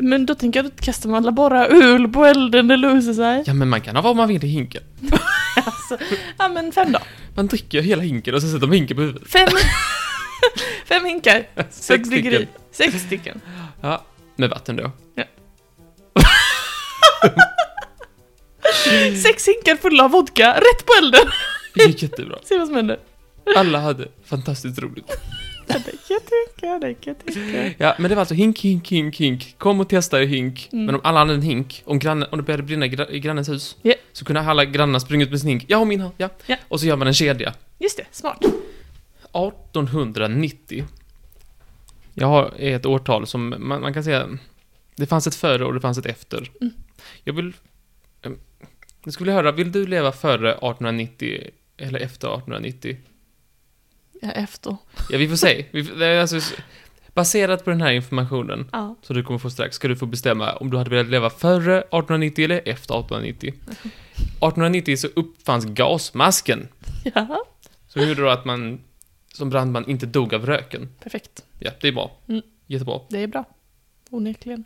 men då tänker jag att kastar man alla bara öl på elden, det löser sig.
Ja, men man kan ha vad man vill i hinken.
Alltså, ja men fem då.
Man dricker hela hinken och sen sätter man hinken på huvudet.
Fem, fem hinkar. för ett
Sex
bryggeri.
stycken.
Sex stycken.
Ja, med vatten då.
Sex hinkar fulla av vodka, rätt på elden.
Det gick jättebra.
Se vad som händer.
Alla hade fantastiskt roligt.
Ja, Det kan jag tycka, det kan jag tycka.
Ja, men det var alltså hink, hink, hink, hink. Kom och testa er hink.
Mm.
Men om alla hade en hink, om, grannen, om det började brinna i gra- i grannens hus,
Ja.
så kunde alla grannar springa ut med sin hink. Jag har min här, ja.
Ja.
Och så gör man en kedja.
Just det, smart.
1890. Jag har ett årtal som man, man kan säga, det fanns ett före och det fanns ett efter.
Mm.
Jag vill, eh, jag skulle höra, vill du leva före 1890 Eller efter 1890.
Ja, efter.
Ja, vi får se. Vi, får- det är alltså, baserat på den här informationen
Ja.
som du kommer få strax ska du få bestämma om du hade velat leva före 1890 eller efter 1890. 1890 så uppfanns gasmasken
ja.
som gjorde då att man som brandman inte dog av röken.
Perfekt.
Ja, det är bra.
Mm.
Jättebra.
Det är bra. Onekligen.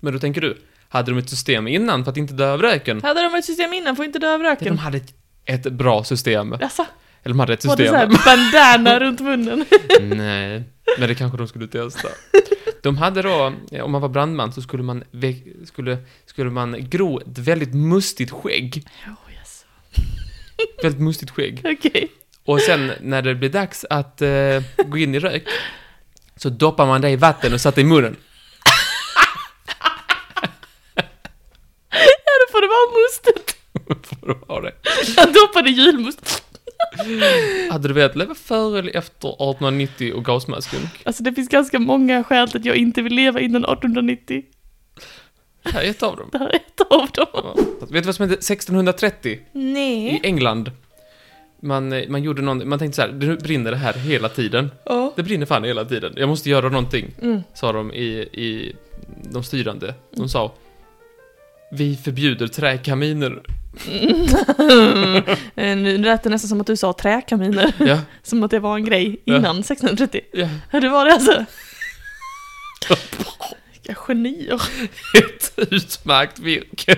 Men då tänker du, hade de ett system innan för att inte dö av röken?
Mm. Hade de ett system innan får inte dö av
Ja, de
röken.
hade ett, ett bra system. Eller
Jaså?
de hade ett
Var det
system.
såhär bandana runt munnen?
Nej, men det kanske de skulle testa. De hade då, eh, om man var brandman så skulle man, vä- skulle, skulle man gro ett väldigt mustigt skägg.
Oh, yes.
Väldigt mustigt skägg.
Okej.
Och sen när det blir dags att eh, gå in i rök så doppar man det i vatten och satte i munnen.
Ja, då får det vara mustet.
För att ha det.
Han doppade julmust.
Hade du velat leva före eller efter 1890 och gasmasken?
Alltså det finns ganska många skäl till att jag inte vill leva innan 1890.
Det här är ett av dem.
Det här är ett av dem.
Ja. Vet du vad som hände 1630 i
Nej.
England? Man, eh, man gjorde någon, man tänkte så här, nu brinner det här hela tiden.
Ja.
Det brinner fan hela tiden. Jag måste göra någonting,
Mm.
sa de i, i de styrande. De sa Vi förbjuder träkaminer.
Eh, Nu lät det nästan som att du sa träkaminer.
Ja,
Som att det var en grej
Ja.
innan 1630.
ja.
Ja, det var det alltså. Vilka genier.
Ett utmärkt virke.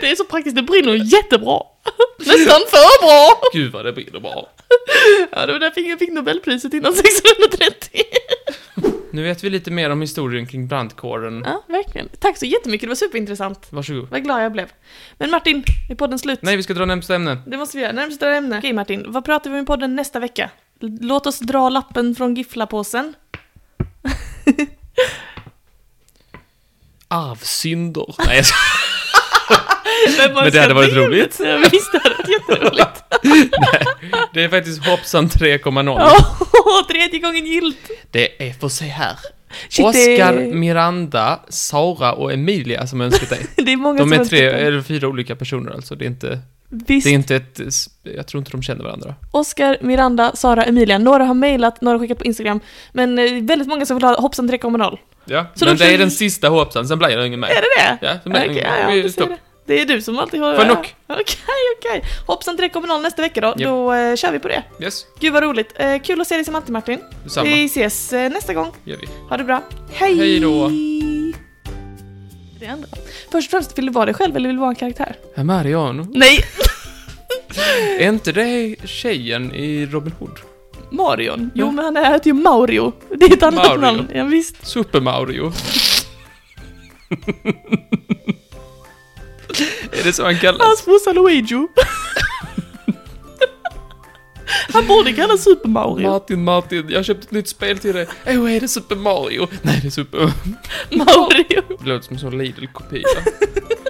Det är så praktiskt, det brinner jättebra. Nästan för bra.
Gud vad det brinner bra.
Ja, det var därför ingen fick Nobelpriset innan 1630.
Nu vet vi lite mer om historien kring brandkåren.
Ja, verkligen. Tack så jättemycket, det var superintressant.
Varsågod.
Vad glad jag blev. Men Martin, är podden slut?
Nej, vi ska dra närmsta ämne.
Det måste vi göra. Närmsta ämne. Okej Martin, vad pratar vi om i podden nästa vecka? L- Låt oss dra lappen från Gifflapåsen.
Arvsynder. Nej, jag skojar.
Men
Men det hade varit roligt.
Ja, visst, det hade varit jätteroligt.
det är faktiskt hoppsan 3,0.
Ja, tredje gången gilt.
Det är, får se här.
Shit,
Oscar,
det,
Miranda, Sara och Emilia som önskat dig.
det är många
De
som
är tre
önskar det.
eller fyra olika personer alltså, det är inte,
Visst.
det är inte ett, jag tror inte de känner varandra.
Oscar, Miranda, Sara, Emilia. Några har mejlat, några har skickat på Instagram. Men eh, väldigt många som vill ha hoppsan 3.0.
Ja,
Så
men
de
det är
känner-
den sista hoppsan, sen blir det ingen mer.
Är det det?
Ja, sen blir det
Okej,
ingen
ja,
mer.
ja, då
"Mm, Vi-
säger
Stopp.
det. det är du som alltid har...
Får jag knock?
Okej, okej. Hoppsan 3.0 nästa vecka då.
Japp.
Då eh, kör vi på det.
Yes,
Gud vad roligt. Eh, kul att se dig som alltid Martin.
detsamma
Vi ses eh, nästa gång.
gör vi.
Ha det bra. Hej!
Hej då.
Det andra. Först och främst, vill du vara dig själv eller vill du vara en karaktär?
Herr Mariano,
Nej!
är inte det tjejen i Robin Hood?
Marion. Jo,
Ja.
men han heter ju Mario. Det är ett annat
Mm. Mario.
namn. Ja, visst.
Super Mario. är det så han
Hans
kallas?
brorsa Luigi. han borde kallas Super Mario.
Martin, Martin, jag har köpt ett nytt spel till dig. Åh, är det Super Mario? Nej, det är Super...
Mario.
Det låter som en sån Lidl-kopia.